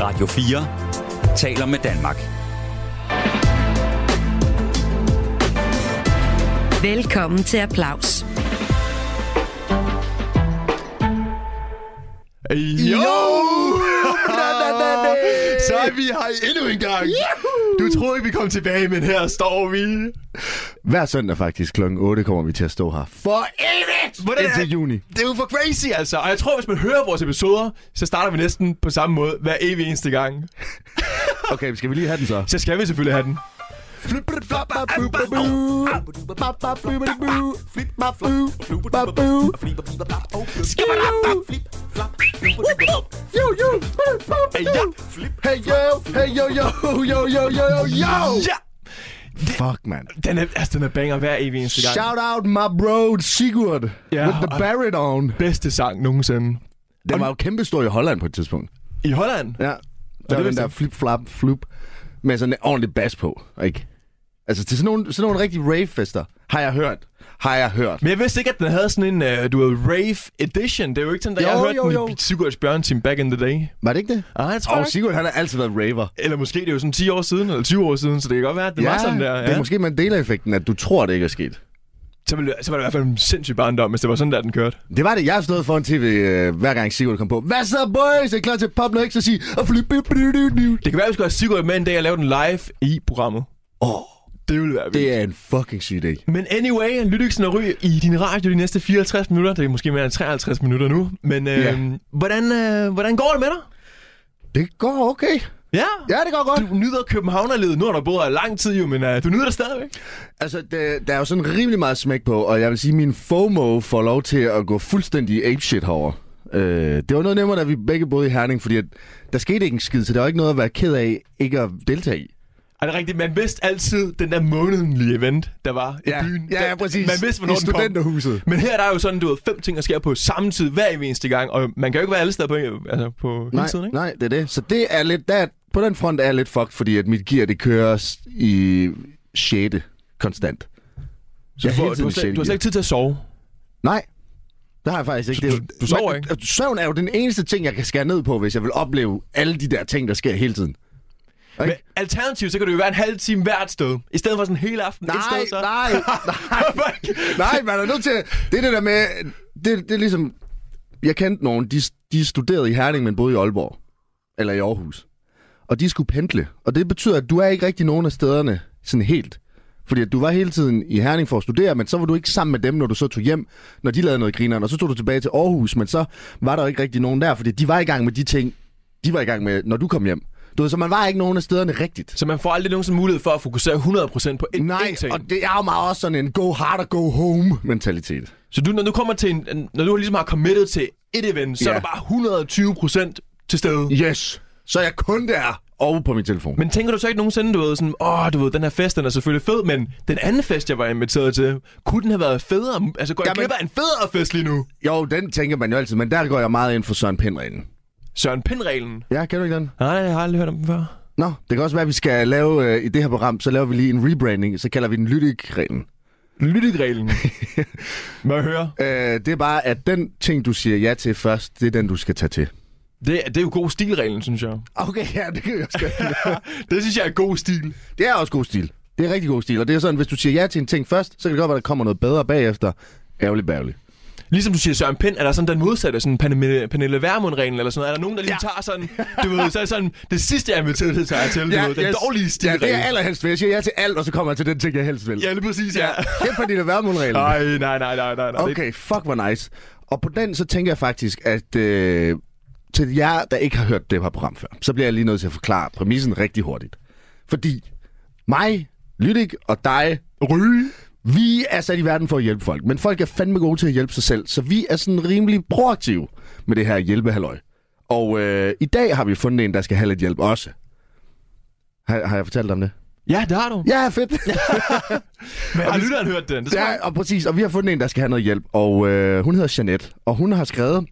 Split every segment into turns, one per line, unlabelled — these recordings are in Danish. Radio 4 taler med Danmark.
Velkommen til Applaus.
Jo! Så er vi her endnu en gang. Du troede ikke, vi kom tilbage, men her står vi.
Hver søndag faktisk klokken 8 kommer vi til at stå her.
For evigt! Hvordan
Indtil juni.
Det er jo for crazy, altså. Og jeg tror, hvis man hører vores episoder, så starter vi næsten på samme måde hver evig eneste gang.
Okay, skal vi lige have den så?
Så skal vi selvfølgelig have den. Hey, ja!
Hey yo, hey yo, yo, yo, yo, yo, yo, yo!
Ja!
Fuck, man.
Den er, altså, den er banger hver evig eneste gang.
Shout out my bro Sigurd
Ja,
with the
og-
baritone.
Bedste sang nogensinde.
Den var jo kæmpestor i Holland på et tidspunkt.
I Holland?
Ja. Der var den
vidste
der
jeg.
flip-flap, flup, med sådan en ordentlig bas på, ikke? Altså til sådan nogle, sådan nogle rigtige ravefester, har jeg hørt. Har jeg hørt.
Men jeg vidste ikke, at den havde sådan en, uh, du ved, rave edition. Det er jo ikke sådan, at
Jo,
jeg hørte
jo, jo.
den i Sigurds Bjørnteam back in the day.
Var det ikke det?
Ah, jeg tror
Og
ikke.
Sigurd, han har altid været raver.
Eller måske det er jo sådan 10 år siden, eller 20 år siden, så det kan godt være, at det ja, var sådan der.
Det er måske Mandela-effekten, at du tror, det ikke er sket.
så, ville, så var det i hvert fald en sindssyg barndom, hvis det var sådan der, den kørte.
Det var det. Jeg har stået foran tv, øh, hver gang Sigurd kom på. Hvad så, boys? Er I klar til at poppe noget ekstra? Sige, og flytte...
Det kan være, at vi skal have Sigurd med en dag og lave den live i programmet.
Åh,
Det ville være vildt.
det er en fucking syg idé.
Men anyway, Lydiksen og Ry i din radio de næste 54 minutter. Det er måske mere end 53 minutter nu. Men øh,
Ja.
hvordan, øh, hvordan går det med dig?
Det går okay.
Ja.
Ja, det går godt.
Du nyder Københavnerlivet. Nu har du boet her lang tid jo, men øh, du nyder det stadigvæk.
Altså, det, der er jo sådan rimelig meget smæk på, og jeg vil sige, min FOMO får lov til at gå fuldstændig apeshit herover. Øh, det var noget nemmere, da vi begge boede i Herning, fordi at, der skete ikke en skid, så der var ikke noget at være ked af ikke at deltage i.
Er det rigtigt? Man vidste altid den der månedlige event, der var i byen.
ja,
Den-
ja, præcis.
Man vidste, hvornår
I
den kom.
studenterhuset.
Men her der er jo sådan, du ved, fem ting, der sker på samme tid hver evig eneste gang, og man kan jo ikke være alle steder på, altså på hele
Nej,
tiden, ikke?
nej, det er det. Så det er lidt, der, på den front er jeg lidt fucked, fordi at mit gear, det kører s- i 6. konstant.
Så
Ja,
du, får,
hele
du,
tiden
har
i sjette
slet, du har slet
gear.
ikke tid til at sove.
Nej, det har jeg faktisk ikke.
Så
Det er
du-
jo-
du sover
Men-
ikke?
og Søvn er jo den eneste ting, jeg kan skære ned på, hvis jeg vil opleve alle de der ting, der sker hele tiden. Ikke?
Men alternativt, så kan det jo være en halv time hvert sted, i stedet for sådan en hel aften et
Nej,
sted. Så.
nej, nej, nej, man er nødt til... Det er det der med... Det, det er ligesom... Jeg kendte nogen, de, de studerede i Herning, men boede i Aalborg. Eller i Aarhus. Og de skulle pendle. Og det betyder, at du er ikke rigtig nogen af stederne sådan helt. Fordi at du var hele tiden i Herning for at studere, men så var du ikke sammen med dem, når du så tog hjem, når de lavede noget grineren. Og så tog du tilbage til Aarhus, men så var der jo ikke rigtig nogen der, fordi de var i gang med de ting, de var i gang med, når du kom hjem. Du ved, så man var ikke nogen af stederne rigtigt.
Så man får aldrig nogensinde mulighed for at fokusere 100% på en,
Nej,
én ting.
og det er jo meget også sådan en go hard og go home mentalitet.
Så du, når du kommer til en, en- når du ligesom har committed til et event,
Ja.
så er du bare 120% til stede.
Yes. Så er jeg kun der over på min telefon.
Men tænker du så ikke nogensinde, du ved, sådan, åh, du ved, den her fest, den er selvfølgelig fed, men den anden fest, jeg var inviteret til, kunne den have været federe? Altså, går jeg
Jamen-
glip af en federe fest lige nu?
Jo, den tænker man jo altid, men der går jeg meget ind for Søren Pindreglen.
Søren Pind-reglen.
Ja, kan du ikke den?
Nej, jeg har aldrig hørt om den før.
Nå, det kan også være, at vi skal lave øh, i det her program, så laver vi lige en rebranding, så kalder vi den Lytik-reglen.
Lyttegreglen. Må jeg høre?
Øh, det er bare, at den ting, du siger ja til først, det er den, du skal tage til.
Det, er- det er jo god stilreglen, synes jeg.
Okay, ja, det kan jeg også godt.
Det synes jeg er god stil.
Det er også god stil. Det er rigtig god stil, og det er sådan, hvis du siger ja til en ting først, så kan det godt være, at der kommer noget bedre bagefter. Ærgerligt, bærgerligt.
Ligesom du siger Søren Pind, er der sådan den modsatte, sådan Pernille, Pernille Vermund-reglen eller sådan noget. Er der nogen, der lige ja. tager sådan, du ved, så er det sådan, det sidste, jeg er inviteret til, tager jeg til, du ved, den dårlige
Ja,
stilregel.
det er jeg allerhelst vil. Jeg siger ja til alt, og så kommer jeg til den ting, jeg helst vil.
Ja, lige præcis, ja.
Det er på dine værmundregler.
Nej, nej, nej, nej, nej. nej.
Okay, fuck hvor nice. Og på den, så tænker jeg faktisk, at øh, til jer, der ikke har hørt det her program før, så bliver jeg lige nødt til at forklare præmissen rigtig hurtigt. Fordi mig, Lydik og dig, Ry, vi er sat i verden for at hjælpe folk, men folk er fandme gode til at hjælpe sig selv, så vi er sådan rimelig proaktive med det her hjælpehalløj. Og øh, i dag har vi fundet en, der skal have lidt hjælp også. Har, har jeg fortalt om det?
Ja, det har du.
Ja, fedt!
Men har lytteren hørt den? Det tror jeg.
Ja, og præcis. Og vi har fundet en, der skal have noget hjælp. Og øh, hun hedder Jeanette, og hun har skrevet...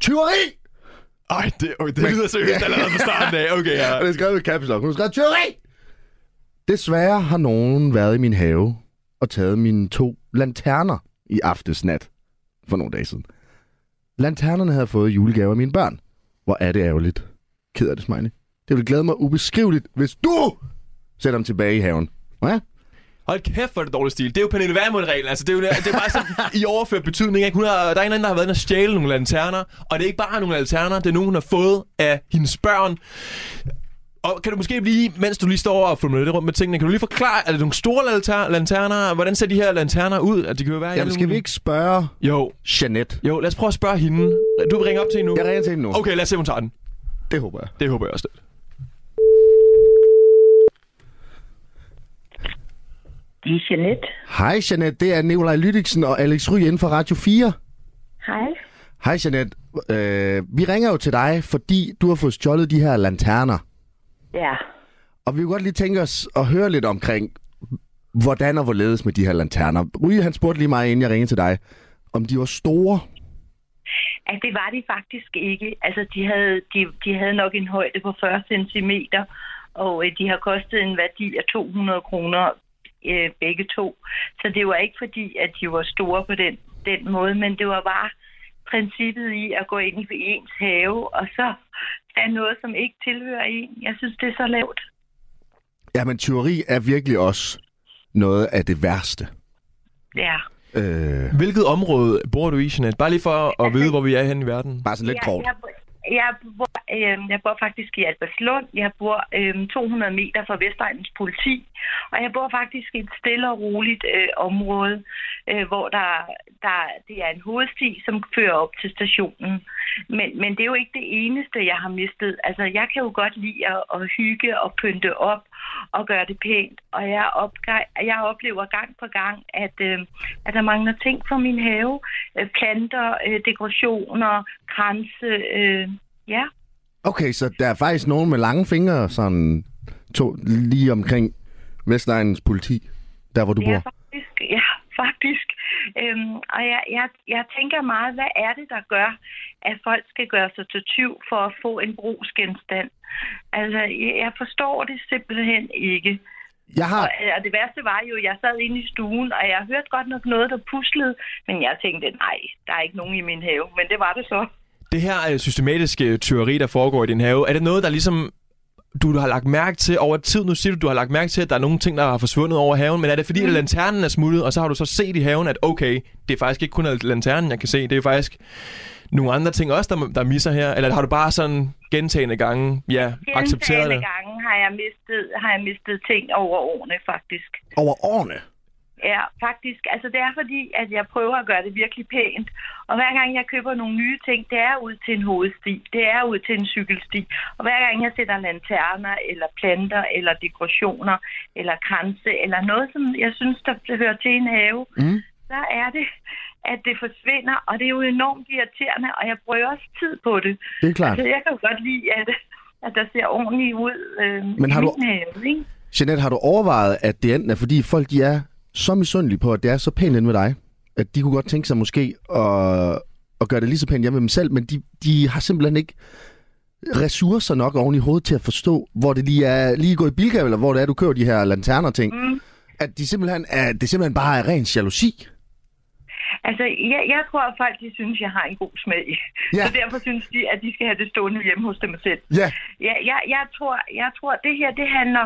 Tyveri!
Ej, det, okay, det lyder seriøst allerede fra starten af. Okay, ja.
Og det er skrevet med caps lock. Hun har skrevet, tyveri! Desværre har nogen været i min have og taget mine to lanterner i aftesnat for nogle dage siden. Lanternerne havde fået julegave af mine børn. Hvor er det ærgerligt. Ked af det, Smiley. Det vil glæde mig ubeskriveligt, hvis du sætter ham tilbage i haven. Ja?
Hold kæft, hvor er det dårlig stil. Det er jo Pernille Vermund-reglen. Altså, det er jo det er bare sådan i overført betydning. Ikke? Hun har, der er en eller anden, der har været inde og stjæle nogle lanterner. Og det er ikke bare nogle lanterner. Det er nogen, hun har fået af hendes børn. Og kan du måske lige, mens du lige står og fumler lidt rundt med tingene, kan du lige forklare, er det nogle store lanter- lanterner? Hvordan ser de her lanterner ud? At de kan jo være i
Jamen,
alle
skal vi
mulige-
ikke spørge
Jo,
Jeanette?
jo, lad os prøve at spørge hende. Du vil ringe op til hende nu?
Jeg ringer til hende nu.
Okay, lad os se, om hun tager den.
Det håber jeg.
Det håber jeg også lidt.
Det er Jeanette.
Hej, Jeanette. Det er Nikolaj Lydiksen og Alex Ry inden for Radio 4.
Hej.
Hej, Jeanette. Øh, vi ringer jo til dig, fordi du har fået stjålet de her lanterner.
Ja.
Og vi kunne godt lige tænke os at høre lidt omkring, hvordan og hvorledes med de her lanterner. Ryge, han spurgte lige mig, inden jeg ringede til dig, om de var store.
Altså, det var de faktisk ikke. Altså, de havde, de, de havde nok en højde på 40 cm, og øh, de har kostet en værdi af 200 kroner øh, begge to. Så det var ikke fordi, at de var store på den, den måde, men det var bare princippet i at gå ind i ens have, og så tage noget, som ikke tilhører en. Jeg synes, det er så lavt.
Jamen, tyveri er virkelig også noget af det værste.
Ja.
Øh,
Hvilket område bor du i, Jeanette? Bare lige for at vide, hvor vi er henne i verden.
bare sådan lidt
Ja,
kort.
Jeg, bor- jeg, bor, øh, jeg bor faktisk i Albertslund. Jeg bor øh, 200 meter fra Vestegnens politi. Og jeg bor faktisk i et stille og roligt øh, område, øh, hvor der, der, det er en hovedsti, som fører op til stationen. Men, men det er jo ikke det eneste, jeg har mistet. Altså, jeg kan jo godt lide at, at hygge og pynte op og gøre det pænt. Og jeg, opga- jeg oplever gang på gang, at, øh, at der mangler ting fra min have. Øh, planter, øh, dekorationer, kranse. Øh, ja,
Okay, så der er faktisk nogen med lange fingre, sådan to, lige omkring Vestegnens politi, der hvor du
Ja,
bor.
faktisk. Ja, faktisk. Øhm, og jeg, jeg, jeg tænker meget, hvad er det, der gør, at folk skal gøre sig til tyv for at få en brugsgenstand? Altså, jeg, jeg forstår det simpelthen ikke.
Jeg har...
Og, og det værste var jo, at jeg sad inde i stuen, og jeg hørte godt nok noget, der puslede, men jeg tænkte, nej, der er ikke nogen i min have. Men det var det så.
Det her øh, systematiske tyveri, der foregår i din have, er det noget, der ligesom du har lagt mærke til over tid? Nu siger du, du har lagt mærke til, at der er nogle ting, der har forsvundet over haven, men er det fordi, at lanternen er smuttet, og så har du så set i haven, at okay, det er faktisk ikke kun lanternen, jeg kan se, det er faktisk nogle andre ting også, der, der misser her? Eller har du bare sådan gentagende gange, ja, accepteret
Gentagende
det?
gange har jeg, mistet, har jeg mistet ting over årene, faktisk.
Over årene?
Ja, faktisk. Altså, det er fordi, at jeg prøver at gøre det virkelig pænt. Og hver gang jeg køber nogle nye ting, det er ud til en hovedsti, det er ud til en cykelsti. Og hver gang jeg sætter lanterner, eller planter, eller dekorationer, eller kranse, eller noget, som jeg synes, der hører til en have, mm. så er det, at det forsvinder. Og det er jo enormt irriterende, og jeg bruger også tid på det.
Det er klart.
Så jeg kan jo godt lide, at, at der ser ordentligt ud øh,
Men har
i
du-
min have, ikke?
Jeanette, har du overvejet, at det enten er, fordi folk de er så misundelige på, at det er så pænt inde med dig, at de kunne godt tænke sig måske at, at gøre det lige så pænt hjemme med dem selv, men de, de har simpelthen ikke ressourcer nok oven i hovedet til at forstå, hvor det lige er lige gå i Bilka, eller hvor det er, du kører de her lanterner ting. Mm. At de simpelthen er, det simpelthen bare er ren jalousi.
Altså, jeg, jeg tror, at folk de synes, jeg har en god smag.
Ja.
Ja. Så derfor synes de, at de skal have det stående hjemme hos dem selv.
Ja.
Ja, jeg, jeg, tror, jeg tror, det her det handler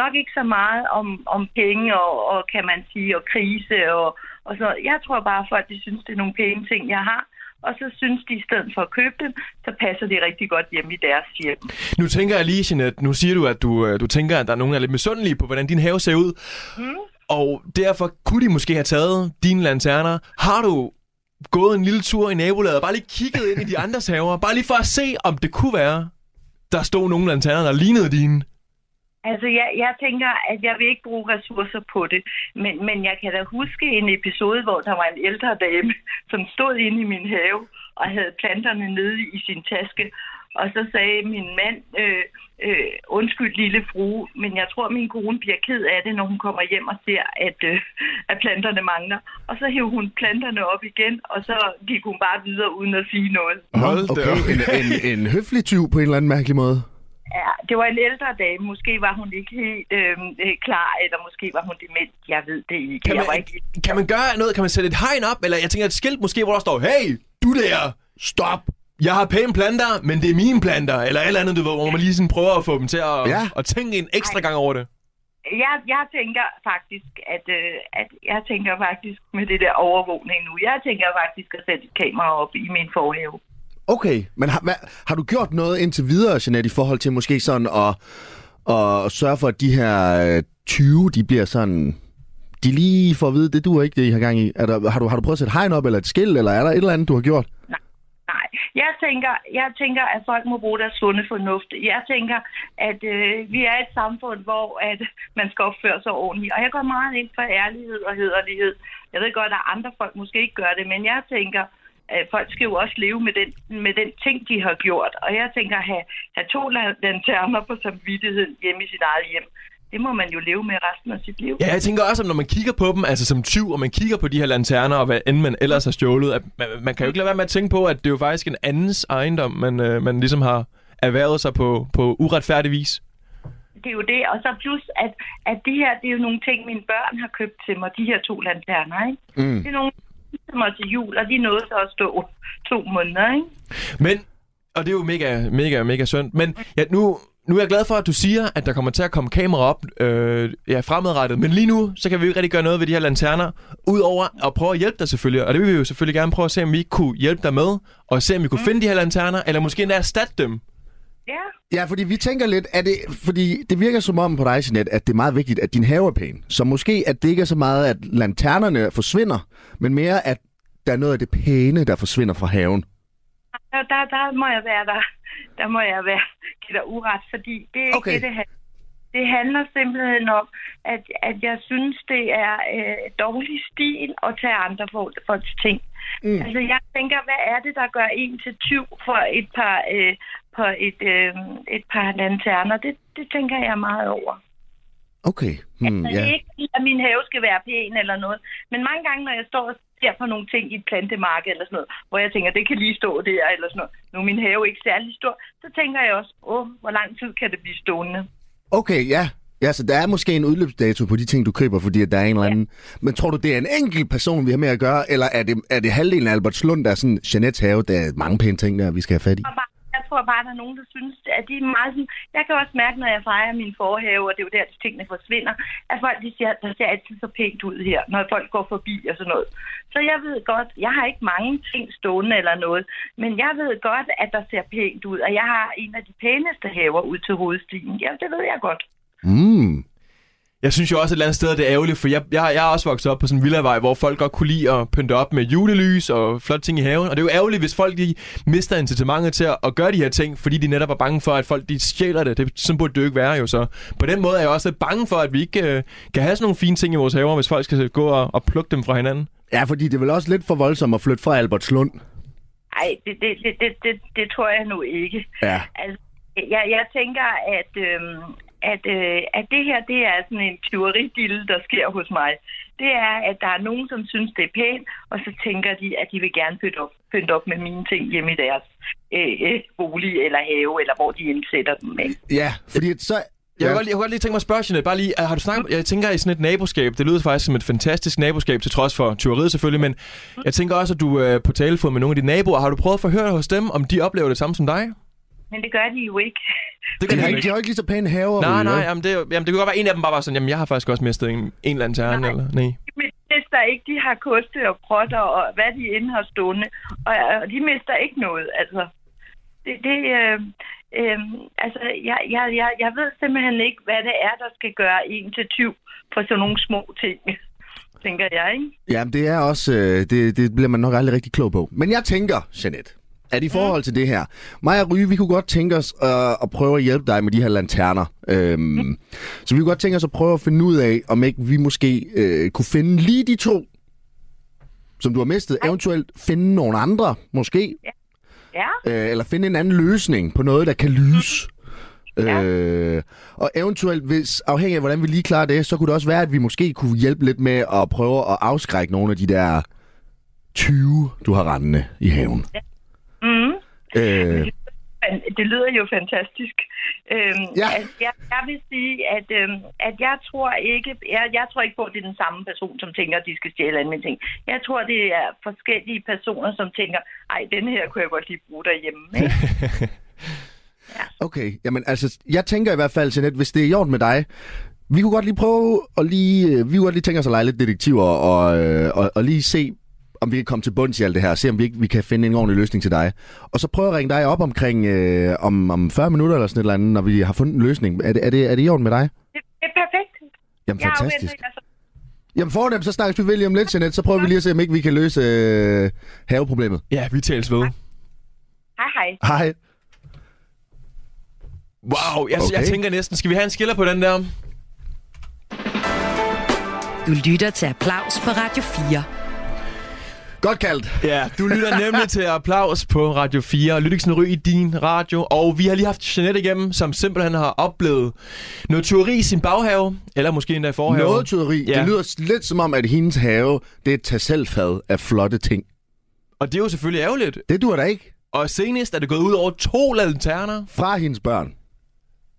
nok ikke så meget om, om penge og, og, kan man sige, og krise og, og sådan noget. Jeg tror bare, at folk de synes, det er nogle pæne ting, jeg har. Og så synes de, i stedet for at købe dem, så passer det rigtig godt hjemme i deres hjem.
Nu tænker jeg lige, Jeanette, nu siger du, at du, øh, du tænker, at der er nogen, der er lidt misundelige på, hvordan din have ser ud.
Hmm?
Og derfor kunne de måske have taget dine lanterner. Har du gået en lille tur i nabolaget og bare lige kigget ind i de andres haver? Bare lige for at se, om det kunne være, der stod nogle lanterner, der lignede dine.
Altså, jeg, jeg tænker, at jeg vil ikke bruge ressourcer på det, men, men jeg kan da huske en episode, hvor der var en ældre dame, som stod inde i min have og havde planterne nede i sin taske. Og så sagde min mand, øh, øh, undskyld lille frue, men jeg tror, min kone bliver ked af det, når hun kommer hjem og ser, at, øh, at planterne mangler. Og så hævde hun planterne op igen, og så gik hun bare videre uden at sige noget.
Hold da
okay,
op.
en, en, en høflig tyv på en eller anden mærkelig måde.
Ja, det var en ældre dame. Måske var hun ikke helt øh, øh, klar, eller måske var hun dement. Jeg ved det ikke.
Kan
jeg var
man,
ikke...
kan man gøre noget? Kan man sætte et hegn op? Eller jeg tænker et skilt måske, hvor der står, hey, du der, stop, jeg har pæne planter, men det er mine planter, eller et eller andet, du ved, hvor man lige sådan prøver at få dem til at,
Ja.
at tænke en ekstra gang over det.
Jeg, jeg tænker faktisk, at, øh, at jeg tænker faktisk med det der overvågning nu, jeg tænker faktisk at sætte et kamera op i min forhave.
Okay, men har, hvad, har du gjort noget indtil videre, Jeanette, i forhold til måske sådan at, at sørge for, at de her øh, 20, de bliver sådan... De lige får at vide, det du ikke, det I har gang i. Er der, har, du, har du prøvet at sætte hegn op, eller et skilt, eller er der et eller andet, du har gjort?
Nej, jeg tænker, jeg tænker, at folk må bruge deres sunde fornuft. Jeg tænker, at øh, vi er et samfund, hvor at man skal opføre sig ordentligt. Og jeg går meget ind for ærlighed og hederlighed. Jeg ved godt, at andre folk måske ikke gør det, men jeg tænker, at folk skal jo også leve med den, med den ting, de har gjort. Og jeg tænker, at have, have to lan- lanterner på samvittigheden hjemme i sit eget hjem, det må man jo leve med resten af sit liv.
Ja, jeg tænker også, at når man kigger på dem, altså som tyv, og man kigger på de her lanterner, og hvad end man ellers har stjålet, at man, man kan jo ikke lade være med at tænke på, at det er jo faktisk en andens ejendom, man, øh, man ligesom har erhvervet sig på, på uretfærdig vis.
det er jo det. Og så plus, at, at det her, det er jo nogle ting, mine børn har købt til mig, de her to lanterner, ikke? Mm. Det er nogle til mig til jul, og de nåede så at stå to måneder, ikke?
Men, og det er jo mega, mega, mega synd, men ja, nu, nu er jeg glad for, at du siger, at der kommer til at komme kamera op øh, ja, fremadrettet, men lige nu, så kan vi jo ikke rigtig gøre noget ved de her lanterner, udover at prøve at hjælpe dig selvfølgelig, og det vil vi jo selvfølgelig gerne prøve at se, om vi ikke kunne hjælpe dig med, og se, om vi kunne finde de her lanterner, eller måske endda erstatte dem.
Ja,
Ja, fordi vi tænker lidt, at det, fordi det virker som om på dig, Jeanette, at det er meget vigtigt, at din have er pæn. Så måske, at det ikke er så meget, at lanternerne forsvinder, men mere, at der er noget af det pæne, der forsvinder fra haven.
der, der, der må jeg være der. Der må jeg være give dig uret, fordi det er ikke
Okay.
okay. det, det handler det handler simpelthen om, at, at jeg synes, det er øh, dårlig stil at tage andre folk- folks ting. Mm. Altså, jeg tænker, hvad er det, der gør en til tyv for et par, øh, på et, øh, et par lanterner? Det, det tænker jeg meget over.
Okay. Hmm,
Så det
ja.
er ikke, fordi, at min have skal være pæn eller noget. Men mange gange, når jeg står og ser på nogle ting i et plantemarked eller sådan noget, hvor jeg tænker, det kan lige stå der eller sådan noget. Nu er min have ikke særlig stor. Så tænker jeg også, åh, hvor lang tid kan det blive stående?
Okay, ja. Ja, så der er måske en udløbsdato på de ting, du køber, fordi at der er en eller anden... Men tror du, det er en enkelt person, vi har med at gøre, eller er det, er det halvdelen af Albertslund, der er sådan, Jeanettes have, der er mange pæne ting der, vi skal have fat i?
tror bare, jeg tror bare, der er nogen, der synes, at de er meget sådan... Jeg kan også mærke, når jeg fejrer min forhave, og det er jo der, de tingene forsvinder, at folk de siger, der ser altid så pænt ud her, når folk går forbi og sådan noget. Så jeg ved godt, jeg har ikke mange ting stående eller noget, men jeg ved godt, at der ser pænt ud, og jeg har en af de pæneste haver ud til hovedstien. Ja, det ved jeg godt.
Mm.
Jeg synes jo også et eller andet sted, at det er ærgerligt, for jeg, jeg, jeg er også vokset op på sådan en villavej, hvor folk godt kunne lide at pynte op med julelys og flotte ting i haven. Og det er jo ærgerligt, hvis folk de mister incitamentet til at, at gøre de her ting, fordi de netop er bange for, at folk de stjæler det. det sådan burde det jo ikke være jo så. På den måde er jeg også lidt bange for, at vi ikke øh, kan have sådan nogle fine ting i vores haver, hvis folk skal gå og, og plukke dem fra hinanden.
Ja, fordi det er vel også lidt for voldsomt at flytte fra Albertslund.
Ej, det, det, det, det, det, det tror jeg nu ikke.
Ja.
Altså, jeg, jeg tænker, at, øhm, at, øh, at det her, det er sådan en tyveridille, der sker hos mig. Det er, at der er nogen, som synes, det er pænt, og så tænker de, at de vil gerne pynte op, pynte op med mine ting hjemme i deres øh, øh, bolig eller have, eller hvor de indsætter dem. Ikke?
Ja, fordi at så...
Jeg kunne,
ja.
godt, lige- jeg kunne godt lige tænke mig at spørge, Jeanette, bare lige, øh, har du snakket, jeg tænker i sådan et naboskab, det lyder faktisk som et fantastisk naboskab, til trods for tyveriet selvfølgelig, men jeg tænker også, at du øh, er på talefod med nogle af dine naboer. Har du prøvet at forhøre dig hos dem, om de oplever det samme som dig?
Men det gør de jo ikke.
Det
De
kan
har,
de
ikke, de
ikke.
har ikke lige så pæne haver.
Nej,
Rune,
nej,
vel?
jamen det, er jo- jamen det kunne godt være, at en af dem bare var sådan, jamen jeg har faktisk også mistet en, en lanterne,
Nej.
eller nej.
De mister ikke, de har koste og protter og hvad de inde har stående, og, og de mister ikke noget, altså. Det, det øh, øh, altså, jeg, jeg, jeg, jeg ved simpelthen ikke, hvad det er, der skal gøre en til tyv for sådan nogle små ting, tænker jeg, ikke?
Jamen, det er også... Øh, det, det bliver man nok aldrig rigtig klog på. Men jeg tænker, Jeanette, at i forhold til det her... Mig og Ryge, vi kunne godt tænke os øh, at prøve at hjælpe dig med de her lanterner. Øhm, Så vi kunne godt tænke os at prøve at finde ud af, om ikke vi måske øh, kunne finde lige de to, som du har mistet. Eventuelt finde nogle andre, måske.
Ja,
Øh, eller finde en anden løsning på noget, der kan lyse. Øh, og eventuelt, hvis, afhængig af hvordan vi lige klarer det, så kunne det også være, at vi måske kunne hjælpe lidt med at prøve at afskrække nogle af de der 20, du har rendende i haven.
mm.
Øh,
Men det lyder jo fantastisk. Øhm,
Ja.
ja. altså, jeg, jeg vil sige, at, øhm, at jeg tror ikke, jeg, jeg tror ikke på, at det er den samme person, som tænker, at de skal stjæle alle mine ting. Jeg tror, det er forskellige personer, som tænker, ej, den her kunne jeg godt lige bruge derhjemme. Ikke?
Okay, jamen altså, jeg tænker i hvert fald, Jeanette, hvis det er i orden med dig, vi kunne godt lige prøve at lige, øh, vi kunne godt lige tænke os at lege lidt detektiver og, øh, og, og lige se, om vi kan komme til bunds i alt det her, se om vi ikke vi kan finde en ordentlig løsning til dig. Og så prøve at ringe dig op omkring øh, om, om 40 minutter eller sådan et eller andet, når vi har fundet en løsning. Er det, er det, er det i orden med dig?
Det, det er perfekt.
Jamen
Jeg
fantastisk.
afventer jer så.
Jamen fornemt, så snakkes vi ved lige om lidt, Jeanette, så prøver vi lige at se, om ikke vi kan løse øh, haveproblemet.
Ja, vi tales ved.
Hej, hej.
Hej.
Wow, jeg, okay. jeg
Okay.
tænker næsten, skal vi have en skiller på den der?
Du lytter til Applaus på Radio 4.
Godt kaldt.
Ja, du lytter nemlig til Applaus på Radio 4 og Lytteksen Ry i din radio. Og vi har lige haft Jeanette igennem, som simpelthen har oplevet noget teori i sin baghave, eller måske endda i forhaven.
Noget teori. Ja.
Ja.
Det lyder s- lidt som om, at hendes have, det er et tag selv fad af flotte ting.
Og det er jo selvfølgelig ærgerligt.
Det dur da ikke.
Og senest er det gået ud over to lanterner.
Fra hendes børn.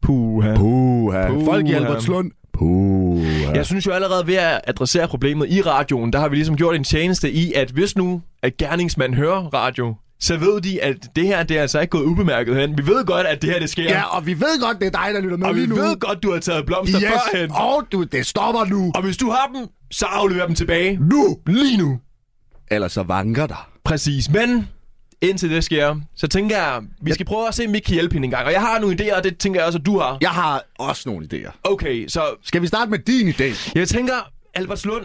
Puha.
Puha.
Puha.
Folk i Albertslund. Puha.
Jeg synes jo allerede ved at adressere problemet i radioen, der har vi ligesom gjort en tjeneste i, at hvis nu at gerningsmanden hører radio, så ved de, at det her det er altså ikke gået ubemærket hen. Vi ved godt, at det her det sker.
Ja, og vi ved godt, det er dig, der lytter med
og vi
lige nu.
ved godt, du har taget blomster
yes.
førhen.
Og du, det stopper nu.
Og hvis du har dem, så afleverer dem tilbage.
Nu.
Lige nu.
Ellers så vanker dig.
Præcis. Men indtil det sker, så tænker jeg, vi skal prøve at se, om vi kan hjælpe hende engang. Og jeg har nogle idéer, og det tænker jeg også, at du har.
Jeg har også nogle idéer.
Okay, så
Skal vi starte med din idé?
Jeg tænker, Albertslund,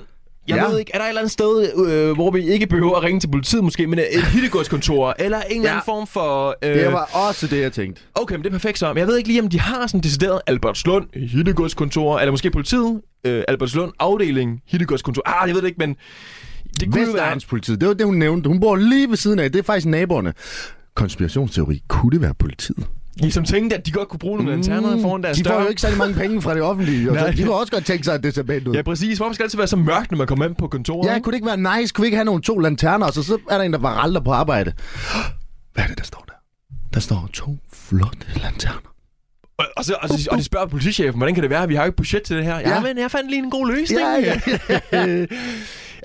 jeg
Ja.
ja. ved ikke, er der et eller andet sted, øh, hvor vi ikke behøver at ringe til politiet måske, men et hittegodskontor, eller en eller anden form for... Øh,
Det var også det, jeg tænkte.
Okay, men det er perfekt så. Men jeg ved ikke lige, om de har sådan decideret Albertslund, hittegodskontor, eller måske politiet, øh, Albertslund, afdeling, hittegodskontor. Ah, jeg ved det ikke, men det kunne jo være...
Vestegnspolitiet, det var det, hun nævnte. Hun bor lige ved siden af. Det er faktisk naboerne. Konspirationsteori. Kunne det være politiet?
I som Ligesom tænkte, at de godt kunne bruge nogle lanterner foran deres
Mm. de får
dør.
jo ikke særlig mange penge fra det offentlige. Og
Nej.
så, de kunne også godt tænke sig, at det ser pænt ud.
Ja, præcis. Hvorfor skal det altid være så mørkt, når man kommer ind på kontoret?
Ja,
ikke?
kunne det ikke være nice? Kunne vi ikke have nogle to lanterner, og så, så er der en, der varalder på arbejde? Hvad er det, der står der? Der står to flotte lanterner.
Og, og, så, og, så, og de spørger politichefen, hvordan kan det være, at vi har jo ikke budget til det her? Ja,
Ja.
men jeg fandt lige en god løsning.
Ja, ja,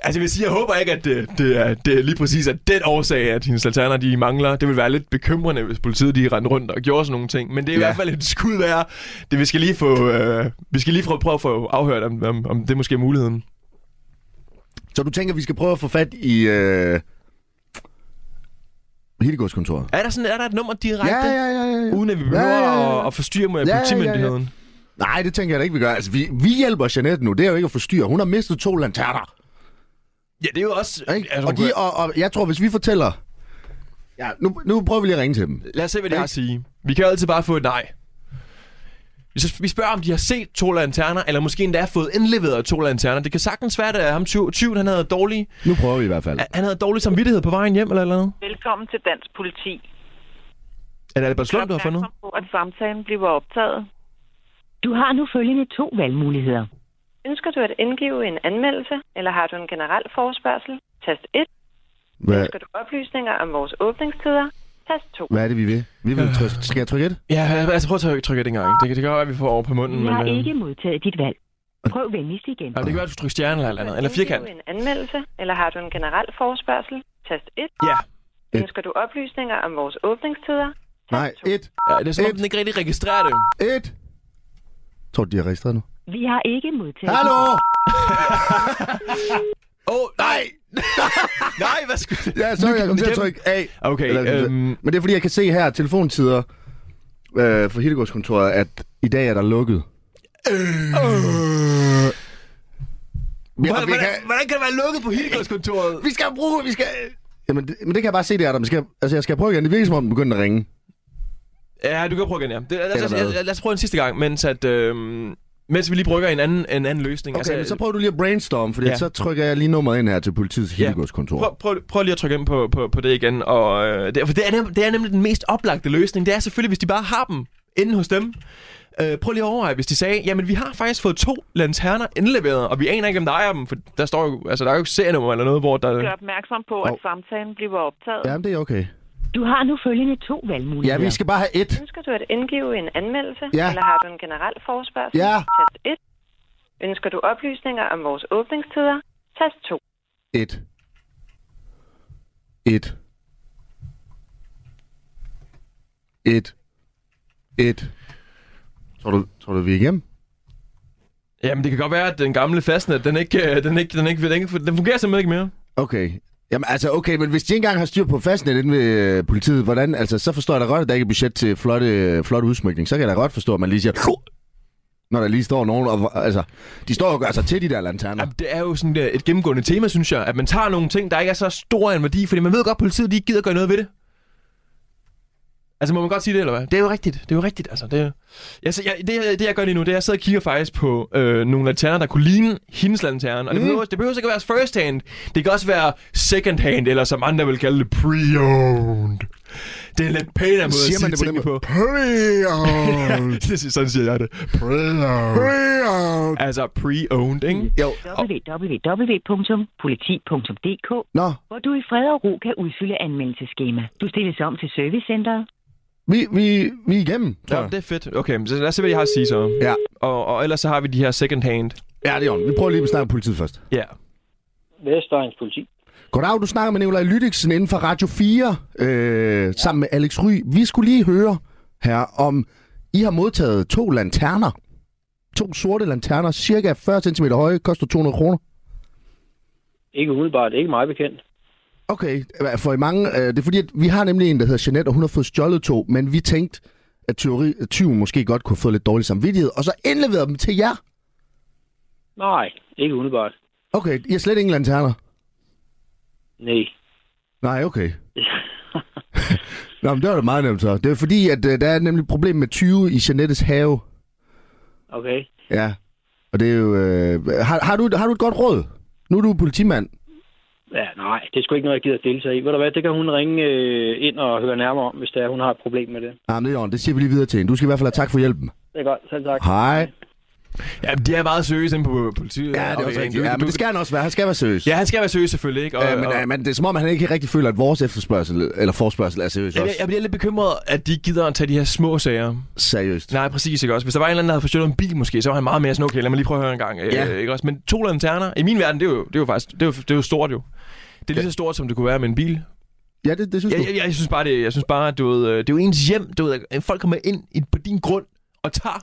altså, jeg vil sige, jeg håber ikke, at det, det, er, det er lige præcis af den årsag, at hendes lanterner, de mangler. Det vil være lidt bekymrende, hvis politiet, de rendte rundt og gjorde sådan nogle ting. Men det er ja. i
Ja.
hvert fald et skud værd. Det, vi skal lige, få, øh, vi skal lige prøve, prøve at få afhørt, om, om, om det måske er muligheden.
Så du tænker, vi skal prøve at få fat i... Øh... Hittegårdskontoret?
Er der, sådan, er der et nummer direkte?
Ja, ja, ja, ja, ja.
Uden at vi behøver
Ja, ja, ja.
At, at forstyrre med
ja, ja.
politimyndigheden.
Nej, det tænker jeg da ikke, vi gør. Altså, vi, vi hjælper Jeanette nu. Det er jo ikke at forstyrre. Hun har mistet to lanterner.
Ja, det er jo også...
Ikke?
Altså,
og, de, og, og jeg tror, hvis vi fortæller... Ja, nu, nu prøver vi lige at ringe til dem.
Lad os se, hvad de har at
Ikke?
sige. Vi kan jo altid bare få et nej. Hvis vi spørger, om de har set to lanterner, eller måske endda har fået indleveret to lanterner. Det kan sagtens være, at ham tyv- tyven, han havde dårlig,
Nu prøver vi i hvert fald.
han havde dårlig samvittighed på vejen hjem, eller et eller andet.
Velkommen til Dansk Politi.
Er det Albert Slund, du har fundet?
Opmærksom på, at samtalen bliver optaget.
Du har nu følgende to valgmuligheder.
Ønsker du at indgive en anmeldelse, eller har du en generel forespørgsel? Tast 1.
Hvad,
Ønsker du oplysninger om vores åbningstider? Tast 2.
hvad er det, vi vil? Vi vil trykke. Skal jeg trykke et?
Ja, altså prøv at trykke, trykke det engang. Det, kan- det kan godt være, at vi får over på munden,
Jeg har
Mm, men...
ikke modtaget dit valg. Prøv venligst igen.
Øh, det kan være, at du trykker stjerne eller et eller andet. Eller firkant.
Indgive en anmeldelse, eller har du en generel forespørgsel? Tast 1.
Ja.
Et.
Ønsker du oplysninger om vores åbningstider?
Nej, et.
ja. Det er som om,
Et.
den ikke rigtig registrerer det.
Et. Tror du, de har registreret nu?
Vi har ikke modtaget...
Hallo!
Åh, oh, nej! nej, hvad skulle det?
Ja, så jeg kom til at
igennem.
trykke af.
Okay,
Eller- øh,
øhm.
Men det er fordi, jeg kan se her, at telefontider øh, for Hildegårdskontoret, at i dag er der lukket. Øh. Ja, vi,
Hvordan, hvordan,
kan,
hvordan kan det være lukket på Hildegårdskontoret?
vi skal bruge, vi skal... Jamen, det, men det kan jeg bare se, det er der. Men skal, altså, jeg skal prøve igen. Det virker som om, den begynder at ringe.
Ja, du kan prøve igen, ja. Det, lad, os,
Eller
lad,
hvad?
lad, lad os prøve en sidste gang, mens, at, øh, mens vi lige brygger en anden, en anden løsning.
Okay, altså, men så prøver du lige at brainstorme, for
Ja.
ja. så trykker jeg lige nummeret ind her til politiets Hildegårdskontor.
Prøv, prøv, prøv lige at trykke ind på, på, på det igen. Og, øh, det, for det er, nem, det er nemlig den mest oplagte løsning. Det er selvfølgelig, hvis de bare har dem inde hos dem. Øh, prøv lige at overveje, hvis de sagde, jamen vi har faktisk fået to lanterner indleveret, og vi aner ikke, om der ejer dem, for der, står jo, altså, der er jo ikke serienummer eller noget, hvor der...
Gør opmærksom på, at
Hov.
samtalen bliver optaget.
Jamen, det er okay.
Du har nu følgende to valgmuligheder.
Ja, vi skal bare have et.
Ønsker du at indgive en anmeldelse,
Ja.
eller har du en generel forspørgsel?
Ja.
Tast 1. Ønsker du oplysninger om vores åbningstider? Tast 2.
Et. Et. Et. Et. Tror du, tror du vi er igennem?
Jamen, det kan godt være, at den gamle fastnet, den ikke, øh, den ikke, den ikke, den ikke, den fungerer simpelthen ikke mere.
Okay. Jamen altså, okay, men hvis de ikke engang har styr på fastnet inde ved øh, politiet, hvordan, altså, så forstår jeg da godt, at der ikke er budget til flotte, øh, flot udsmykning. Så kan jeg da godt forstå, at man lige siger, når der lige står nogen, og, altså, de står jo og gør sig til de der lanterner.
Jamen, det er jo sådan øh, et gennemgående tema, synes jeg, at man tager nogle ting, der ikke er så stor en værdi, fordi man ved godt, at politiet de ikke gider gøre noget ved det. Altså, må man godt sige det, eller hvad? Det er jo rigtigt. Det er jo rigtigt, altså. Det, er... jeg, så- jeg, det, jeg- det, jeg gør lige nu, det er, at jeg sidder og kigger faktisk på øh, nogle lanterner, der kunne ligne hendes lanterne.
Mm.
Og det, behøver, det behøver ikke at være first hand. Det kan også være second hand, eller som andre vil kalde det, pre-owned. Det er en lidt pænere måde at
Siger
sige
man det på den måde?
tingene på. Det er sådan siger jeg det.
Pre-owned.
Altså, pre-owned, ikke?
Jo.
www.politi.dk,
Nå,
hvor du i fred og ro kan udfylde anmeldelseskema. Du stilles om til servicecenteret.
vi, vi, vi er igennem, tror
Ja,
jeg.
det er fedt. Okay, så lad os se, hvad jeg har at sige så.
Ja.
Og, og ellers så har vi de her second hand.
Ja, det er ordentligt. Vi prøver lige at snakke med politiet først.
Ja.
Vestegns politi.
Goddag, du snakker med Nikolaj Lydiksen inden for Radio 4, øh, ja. sammen med Alex Ry. Vi skulle lige høre her, om I har modtaget to lanterner. To sorte lanterner, cirka 40 cm høje, koster 200 kroner.
Ikke umiddelbart, ikke meget bekendt.
Okay, hvad, for i mange, øh, det er fordi, at vi har nemlig en, der hedder Jeanette, og hun har fået stjålet to, men vi tænkte, at teori, at tyven måske godt kunne få lidt dårlig samvittighed, og så indleverede dem til jer.
Nej, ikke umiddelbart.
Okay, I har slet ingen lanterner.
Nej.
Nej, okay. Nå, men det var da meget nemt så. Det er fordi, at øh, der er nemlig et problem med 20 i Jeanettes have.
Okay.
Ja, og det er jo... Øh, har, har, du, har du et godt råd? Nu er du politimand.
Ja, nej, det er sgu ikke noget, jeg gider at dele sig i. Ved du hvad, det kan hun ringe øh, ind og høre nærmere om, hvis det er, hun har et problem med det.
Ah, men det er i orden. Det siger vi lige videre til hende. Du skal i hvert fald have tak for hjælpen.
Det er godt, selv tak.
Hej.
Ja, de er meget seriøse inde på politiet.
Ja, det er også
afdelingen.
rigtigt.
Du-
Ja, men
du-
det skal han også være. Han skal være seriøs.
Ja, han skal være seriøs selvfølgelig, ikke? Og,
Ja, men,
og,
øh, men det er som om, han ikke rigtig føler, at vores efterspørgsel, eller forspørgsel er seriøs
jeg, jeg
også.
bliver lidt bekymret, at de ikke gider at tage de her små sager.
Seriøst.
Nej, præcis, ikke også? Hvis der var en eller anden, der havde forstjålet en bil måske, så var han meget mere sådan, okay, lad mig lige prøve at høre en gang.
Ja.
Øh, ikke også? Men to lanterner, i min verden, det er jo, det er jo faktisk, det er jo, det er jo stort jo. Det er lige så stort, som det kunne være med en bil.
Ja, det, det synes
Jeg,
du.
jeg, jeg, synes bare, det, jeg synes bare, at du ved, øh, det er jo ens hjem. Du ved, at øh, folk kommer ind i- på din grund og tager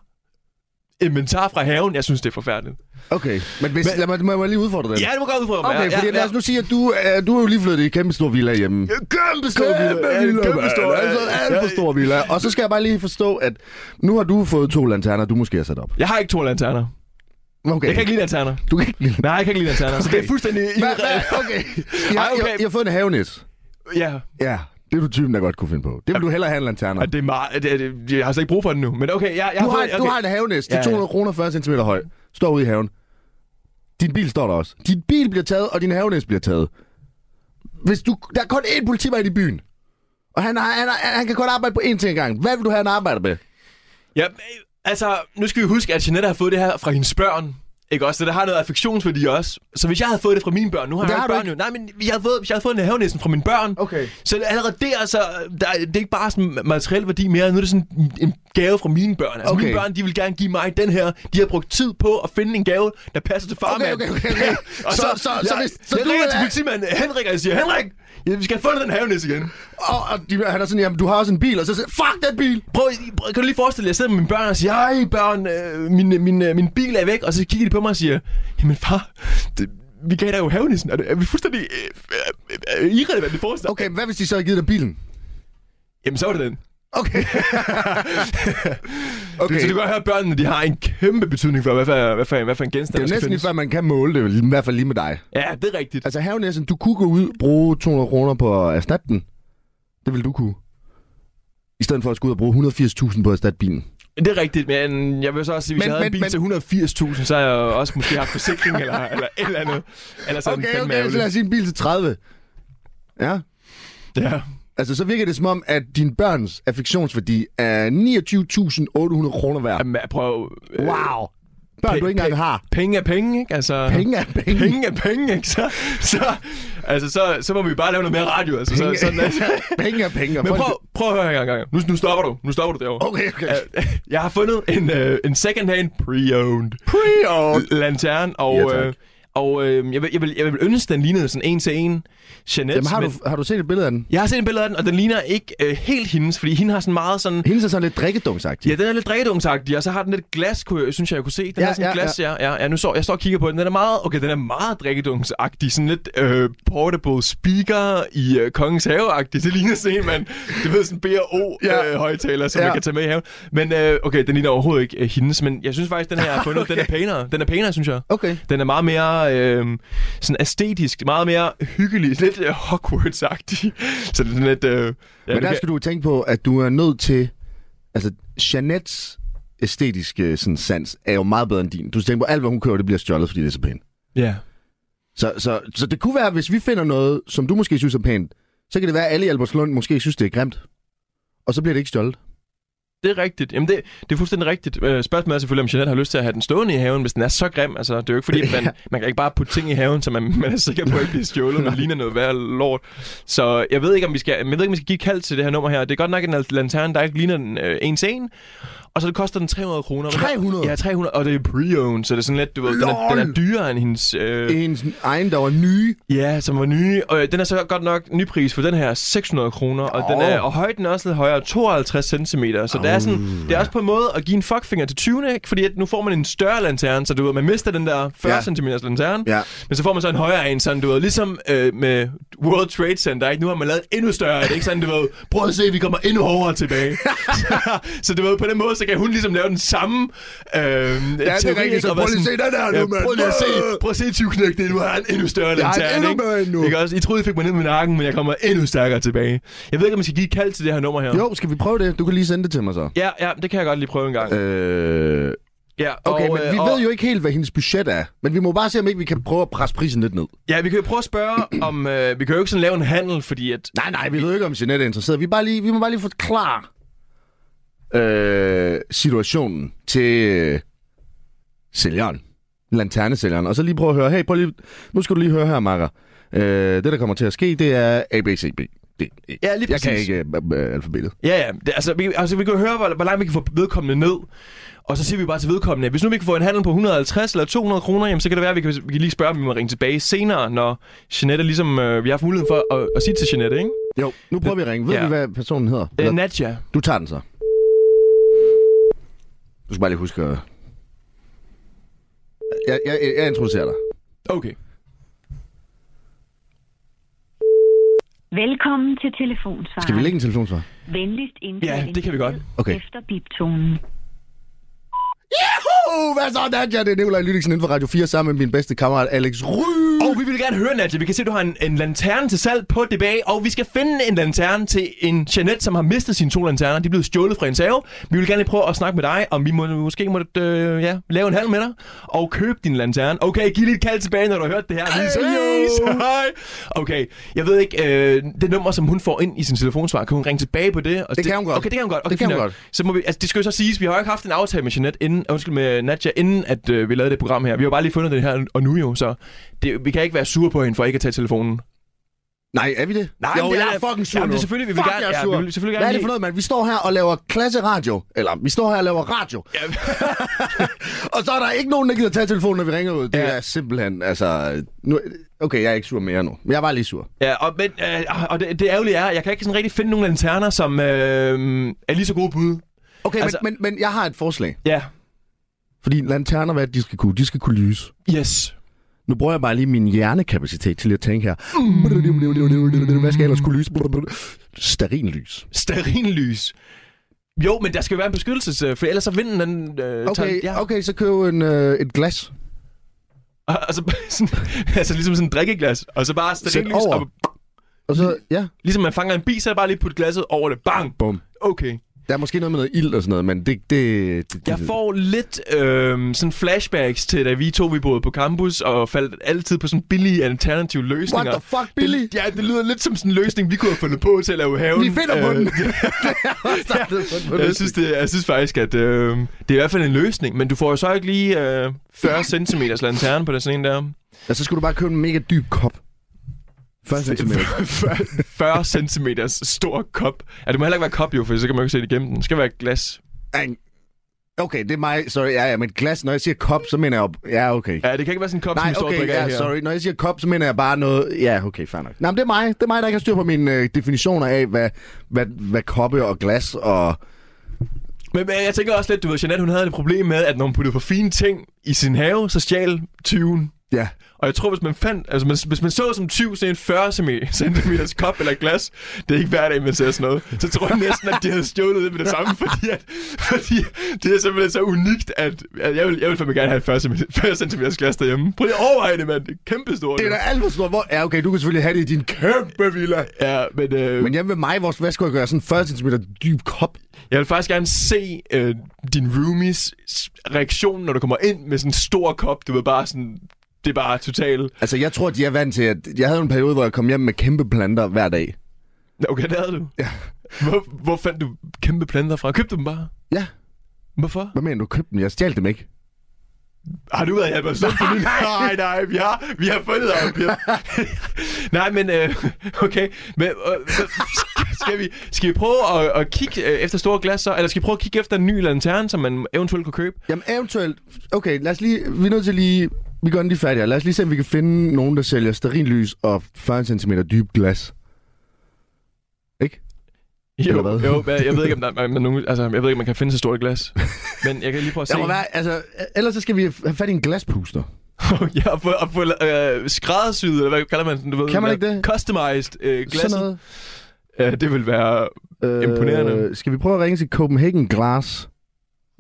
inventar fra haven. Jeg synes, det er forfærdeligt.
Okay, men hvis, lad mig, må jeg lige udfordre dig.
Ja, det må godt ud fra mig.
Okay,
ja,
fordi
ja,
lad os nu sige, at du, øh, du er jo lige flyttet i en kæmpe stor villa hjemme.
Kæmpe
stor villa. Kæmpe stor, altså, alt for stor villa. Og så skal jeg bare lige forstå, at nu har du fået to lanterner, du måske har sat op.
Jeg har ikke to lanterner.
Okay.
Jeg kan ikke lide lanterner.
Du kan ikke lide
Nej, jeg kan ikke lide lanterner. Så det er fuldstændig...
Hvad, hvad? Okay. Jeg,
Ej,
Ej,
okay.
okay. Jeg, jeg har fået en havenet.
Ja,
Ja, det er du typen, der godt kunne finde på. Det vil du hellere have en lanterne.
og det er meget... Det, det, jeg har slet ikke brug for den nu. Men okay, jeg, jeg
Du har,
fået-
du
okay.
har en havenet. Det
Ja,
er
ja.
200 kroner 40 cm høj. Står ude i haven. Din bil står der også. Din bil bliver taget, og din havenet bliver taget. Hvis du, der er kun én politimand i byen. Og han, har, han, har, han kan kun arbejde på én ting ad gangen. Hvad vil du have, han arbejder med?
Ja, øh, altså, nu skal vi huske, at Jeanette har fået det her fra hendes børn. Ikke også? Så det har noget affektionsværdi også. Så hvis jeg havde fået det fra mine børn, nu har
Det
jeg jo
har
ikke
du
børn jo. Nej, men jeg havde fået, hvis jeg havde fået en havenæsen fra mine børn.
Okay.
Så allerede der, så, der, er- det er ikke bare sådan materiel værdi mere. Nu er det sådan en- en gave fra mine børn. Altså,
Okay.
mine børn, de vil gerne give mig den her. De har brugt tid på at finde en gave, der passer til farmand.
Okay, okay, okay, okay.
Og så,
Så-
så,
så-
jeg,
så hvis- så
jeg
du
ringer
vil
til
have-
politimanden Henrik, og jeg siger, Henrik, ja, vi skal have fundet den havenæs igen.
Og, og de, han er sådan, jamen, du har også en bil. Og så siger fuck den bil!
Prøv, prøv, kan du lige forestille dig, at jeg sidder med mine børn og siger, ej børn, øh, min, min, øh, min bil er væk, og så kigger de på mig og siger, jamen far, det, vi gav dig jo havnissen, er, det, er vi fuldstændig øh, øh, øh, irrelevant, det forestiller
Okay, hvad hvis de så havde givet dig bilen?
Jamen så var det den.
Okay.
Okay.
okay.
Så du kan godt høre, at børnene de har en kæmpe betydning for, hvad for, hvad for, en- hvad for en
Det
genstand,
er
der
jo
skal
næsten lige
findes.
før, man kan måle det, i hvert fald lige med dig.
Ja, det er rigtigt.
Altså havnæsen, du kunne gå ud bruge 200 kroner på at erstatte den. Det vil du kunne. I stedet for at skulle ud og bruge 180.000 på at erstatte bilen.
Det er rigtigt, men jeg vil så også sige, hvis
Men-
jeg havde
men- men-
en bil til 180.000, så har jeg jo også måske haft forsikring eller, eller et eller andet. Eller sådan
Okay, okay,
fandme
så lad os
ærgerligt.
sige en bil til 30. Ja,
Ja.
altså så virker det som om, at din børns affektionsværdi er 29.800 kroner værd.
Jamen, prøv... øh,
Wow. Børn, du ikke engang har.
Penge er penge, ikke? Altså,
Penge er penge.
Penge er penge, ikke? Så, så, altså, så, så må vi bare lave noget mere radio. Altså, så, sådan, altså.
penge er penge. og
Men
folk-
prøv, prøv at høre her engang. Nu, nu stopper du. Nu stopper du derovre.
Okay, okay.
Øh, Jeg har fundet en, øh, en second-hand pre-owned
Pre-owned.
lanterne, og,
Ja, tak.
øh, og øh, jeg, vil, jeg, vil, jeg vil ønske, den lignede sådan en til en Jeanette.
Jamen, har,
men-
du, har du set et billede af den?
Jeg har set en billede af den, og den ligner ikke øh, helt hendes, fordi hende har sådan meget sådan...
Hendes er sådan lidt drikkedungsagtig.
Ja, den er lidt drædungsagtig, og så har den lidt glas, kunne, jeg- synes jeg, jeg kunne se. Den ja,
Ja,
har sådan ja,
ja,
glas, ja. Ja, ja. nu så, jeg står og kigger på den. Den er meget, okay, den er meget drikkedungsagtig. Sådan lidt øh, portable speaker i øh, Kongens Have-agtig. Det ligner sådan en, man, du ved, sådan
Ja.
B&O-højtaler, øh, som ja.
Ja.
man kan tage med i haven. Men øh, okay, den ligner overhovedet ikke øh, hendes, men jeg synes faktisk, den her, jeg har fundet, okay. den er pænere. Den er pænere, synes jeg.
Okay.
Den er meget mere øh, sådan æstetisk, meget mere hyggelig, lidt øh, Hogwarts-agtig. Så den er lidt... Øh, ja,
Men
det
der
kan-
skal du tænke på, at du er nødt til... Altså, Jeanettes æstetiske øh, sådan, sans er jo meget bedre end din. Du skal tænke på, alt hvad hun kører, det bliver stjålet, fordi det er så pænt.
Ja.
Så, så, så det kunne være, at hvis vi finder noget, som du måske synes er pænt, så kan det være, at alle i Albertslund måske synes, det er grimt. Og så bliver det ikke stjålet.
Det er rigtigt. Jamen, det, det er fuldstændig rigtigt. Øh, Spørgsmålet er selvfølgelig, om Jeanette har lyst til at have den stående i haven, hvis den er så grim. Altså, det er jo ikke fordi, man, man kan ikke bare putte ting i haven, så man, man er sikker på, at ikke bliver stjålet, men ligner noget værre lort. Så jeg ved ikke, om vi skal, men jeg ved ikke, om vi skal give kald til det her nummer her. Det er godt nok en al- lanterne, der ikke ligner den øh, ens en. Og så det koster den 300 kroner.
300?
Ja, 300. Og det er pre-owned, så det er sådan lidt, du ved, den er, den er
Lol!
dyrere end hendes... Øh,
Hendes egen, der var nye.
Ja, som var nye. Og øh, den er så godt nok ny pris for den her 600 kroner. Og, den er,
Åh.
og højden er også lidt højere, 52 cm. Så det, er sådan, det er også på en måde at give en fuckfinger til 20, ikke? fordi at nu får man en større lanterne, så du ved, man mister den der 40
Ja.
cm lanterne.
Ja.
Men så får man så en højere en, sådan du ved, ligesom øh, med World Trade Center, ikke? nu har man lavet endnu større, det er ikke sådan, du ved, prøv at se, vi kommer endnu hårdere tilbage. så, så du ved, på den måde, så kan hun ligesom lave den samme øh, Ja, det
rigtigt, så prøv lige at se den her nu, mand.
Prøv lige at se, prøv at se 20 knægte, nu har han endnu større
Jeg har
lanterne.
endnu
ikke?
mere end nu.
Ikke også? I troede, I fik mig ned med nakken, men jeg kommer endnu stærkere tilbage. Jeg ved ikke, om man skal give et kald til det her nummer her.
Jo, skal vi prøve det? Du kan lige sende det til mig så.
Ja, ja, det kan jeg godt lige prøve en gang.
Øh,
Ja,
okay, og, men
øh,
vi ved jo ikke helt, hvad hendes budget er. Men vi må bare se, om ikke vi kan prøve at presse prisen lidt ned.
Ja, vi kan jo prøve at spørge om... Øh, vi kan jo ikke sådan lave en handel, fordi at...
Nej, nej, vi ved ikke, om Jeanette er interesseret. Vi, bare lige, vi må bare lige forklare øh, situationen til øh, sælgeren. Lanternesælgeren. Og så lige prøve at høre, hey, prøv lige, nu skal du lige høre her, Marker. Øh, det, der kommer til at ske, det er ABCB. Det,
Ja, lige
jeg kan
præcis.
ikke øh, øh, alfabetet.
Ja, ja. Det, altså, vi, altså, vi kan jo høre, hvor, hvor langt vi kan få vedkommende ned. Og så siger vi bare til vedkommende, hvis nu vi kan få en handel på 150 eller 200 kroner, jamen, så kan det være, at vi kan, vi kan lige spørge, om vi må ringe tilbage senere, når Jeanette ligesom... Øh, vi har haft muligheden for at, at sige til Jeanette, ikke?
Jo, nu prøver vi at ringe. Ved
Ja.
ja. vi, hvad personen hedder?
Øh,
Eller,
Nadja.
du tager den så. Du skal bare lige huske at... Jeg, jeg, jeg introducerer dig.
Okay.
Velkommen til telefonsvaren.
Skal vi lægge en telefonsvar?
Venligst indtale
Ja,
en
det kan vi godt.
besked
Okay.
Efter biptonen.
Yahoo! Hvad så, Nadja? Det er Nikolaj Lydiksen inden for Radio 4 sammen med min bedste kammerat Alex Ry.
Og vi vil gerne høre, Nadia. Vi kan se, at du har en, en lanterne til salg på DBA, og vi skal finde en lanterne til en Jeanette, som har mistet sine to lanterner. De er blevet stjålet fra hendes have. Vi vil gerne lige prøve at snakke med dig, om vi må, måske må øh, ja, lave en handel med dig og købe din lanterne. Okay, giv lige et kald tilbage, når du har hørt det her. Vi ses. Hej. Okay, jeg ved ikke, øh, det nummer, som hun får ind i sin telefonsvar, kan hun ringe tilbage på det? Og
Det kan hun godt.
Okay, det kan hun godt. Okay,
Det kan
fint
hun
nok.
godt.
Så må vi, altså, det skal jo så siges, vi har jo ikke haft en aftale med Jeanette inden, undskyld, med Nadja, inden at øh, vi lavede det program her. Vi har jo bare lige fundet det her, og nu jo, så det, vi kan ikke være sure på hende for ikke at tage telefonen.
Nej, er vi det?
Nej,
jo,
men det
jeg
er-
er fucking sur
Jamen, det er
nu.
selvfølgelig, vi vil
Fuck,
gerne-
jeg
ja,
er sur.
vi vil selvfølgelig gerne
Hvad er det
lige-
for noget, mand? Vi står her og laver klasse radio. Eller, vi står her og laver radio.
Ja.
og så er der ikke nogen, der gider tage telefonen, når vi ringer ud. Det
Ja.
er simpelthen, altså... Nu, okay, jeg er ikke sur mere nu. Men jeg var lige sur.
Ja, og, men, øh, og det, det ærgerlige er, at jeg kan ikke sådan rigtig finde nogen lanterner, som øh, er lige så gode bud.
Okay,
Altså-
altså... men, men, men jeg har et forslag.
Ja.
Fordi lanterner, hvad er det, de skal kunne? De skal kunne lyse.
Yes.
Nu bruger jeg bare lige min hjernekapacitet til at tænke her. Hvad skal jeg ellers kunne lyse? Sterin lys.
Sterinlys. Jo, men der skal jo være en beskyttelse, øh, for ellers så vinden den... Øh,
Okay,
ja.
okay, så køb en, øh, et glas.
Og, og så, sådan, altså ligesom sådan en drikkeglas, og så bare sterinlys.
over.
Og,
Og så, ja.
ligesom man fanger en bi, så er det bare lige putte glasset over det. Bang!
Bum.
Okay.
Der er måske noget med noget ild og sådan noget, men det... det, det
Jeg
det-
får lidt øh, sådan flashbacks til, da vi to vi boede på campus, og faldt altid på sådan billige alternative løsninger.
What the fuck, Billy?
Det, ja, det lyder lidt som sådan en løsning, vi kunne have fundet på til at lave haven.
Vi finder på
Øh,
den! Det er også startet på den.
Jeg synes, det, jeg synes faktisk, at øh, det er i hvert fald en løsning, men du får jo så ikke lige øh, 40 cm lanterne på den sådan en der.
Ja, så skulle du bare købe en mega dyb kop. Først centimeter.
40 cm stor kop. Ja, det må heller ikke være kop jo, for så kan man jo ikke se det igennem den. Det skal være glas.
Ej, Okay, det er mig. Sorry, ja, ja, men glas, når jeg siger kop, så mener jeg... jo- Ja, okay.
Ja, det kan ikke være sådan en kop, som
Nej,
vi står og
okay,
drikker af
ja,
her.
sorry. Når jeg siger kop, så mener jeg bare noget... Ja, okay, fair nok. Nej, men det er mig. Det er mig, der ikke har styr på mine øh, definitioner af, hvad, hvad, hvad koppe og glas og...
Men, men jeg tænker også lidt, du ved, Jeanette, hun havde et problem med, at når hun puttede for fine ting i sin have, så stjal tyven.
Ja.
Og jeg tror, hvis man fandt, altså hvis, hvis man så som tyv sådan en 40 cm kop eller glas, det er ikke hver dag, man ser sådan noget, så tror jeg næsten, at de havde stjålet det med det samme, fordi, at, fordi det er simpelthen så unikt, at, at jeg vil, jeg vil fandme gerne have et 40 cm glas derhjemme. Prøv lige at overveje det, mand. Det er kæmpestort.
Det er da alt for stort. Hvor... Ja, okay, du kan selvfølgelig have det i din kæmpe villa.
Ja, men, øh,
Men hjemme ved mig, vores hvad skulle jeg gøre? Sådan en 40 cm dyb kop.
Jeg vil faktisk gerne se øh, din roomies reaktion, når du kommer ind med sådan en stor kop. Du ved bare sådan, det er bare totalt...
Altså, jeg tror, de er vant til, at... Jeg havde en periode, hvor jeg kom hjem med kæmpe planter hver dag.
Okay, det havde du. Ja. Hvor, hvor fandt du kæmpe planter fra? Købte du dem bare?
Ja,
Hvorfor?
hvad mener du? Købte dem? Jeg stjal dem ikke.
Har du været i Albertslund for nylig? Nej, nej, vi har, vi har fundet dig. Vi har... nej, men øh, okay. Men, øh, skal, vi, skal vi prøve at, at kigge øh, efter store glas så? Eller skal vi prøve at kigge efter en ny lanterne, som man eventuelt kunne købe?
Jamen eventuelt... Okay, lad os lige... Vi er nødt til lige... Vi gør den lige færdig her. Lad os lige se, om vi kan finde nogen, der sælger sterinlys og 40 cm dyb glas. Ikke? Eller
Jo,
hvad?
jo men jeg ved ikke, om der, man, nogen, altså, jeg ved ikke, om man kan finde så stort et glas. Men jeg kan lige prøve at se.
Der må være, altså, ellers så skal vi have fat i en glaspuster.
ja, og få, og få øh, skræddersyet, eller hvad kalder man den? Du ved,
Kan man
der-
ikke det?
Customized øh,
Sådan
glasset.
noget.
Ja, det vil være...
Øh,
Imponerende.
Skal vi prøve at ringe til Copenhagen Glass?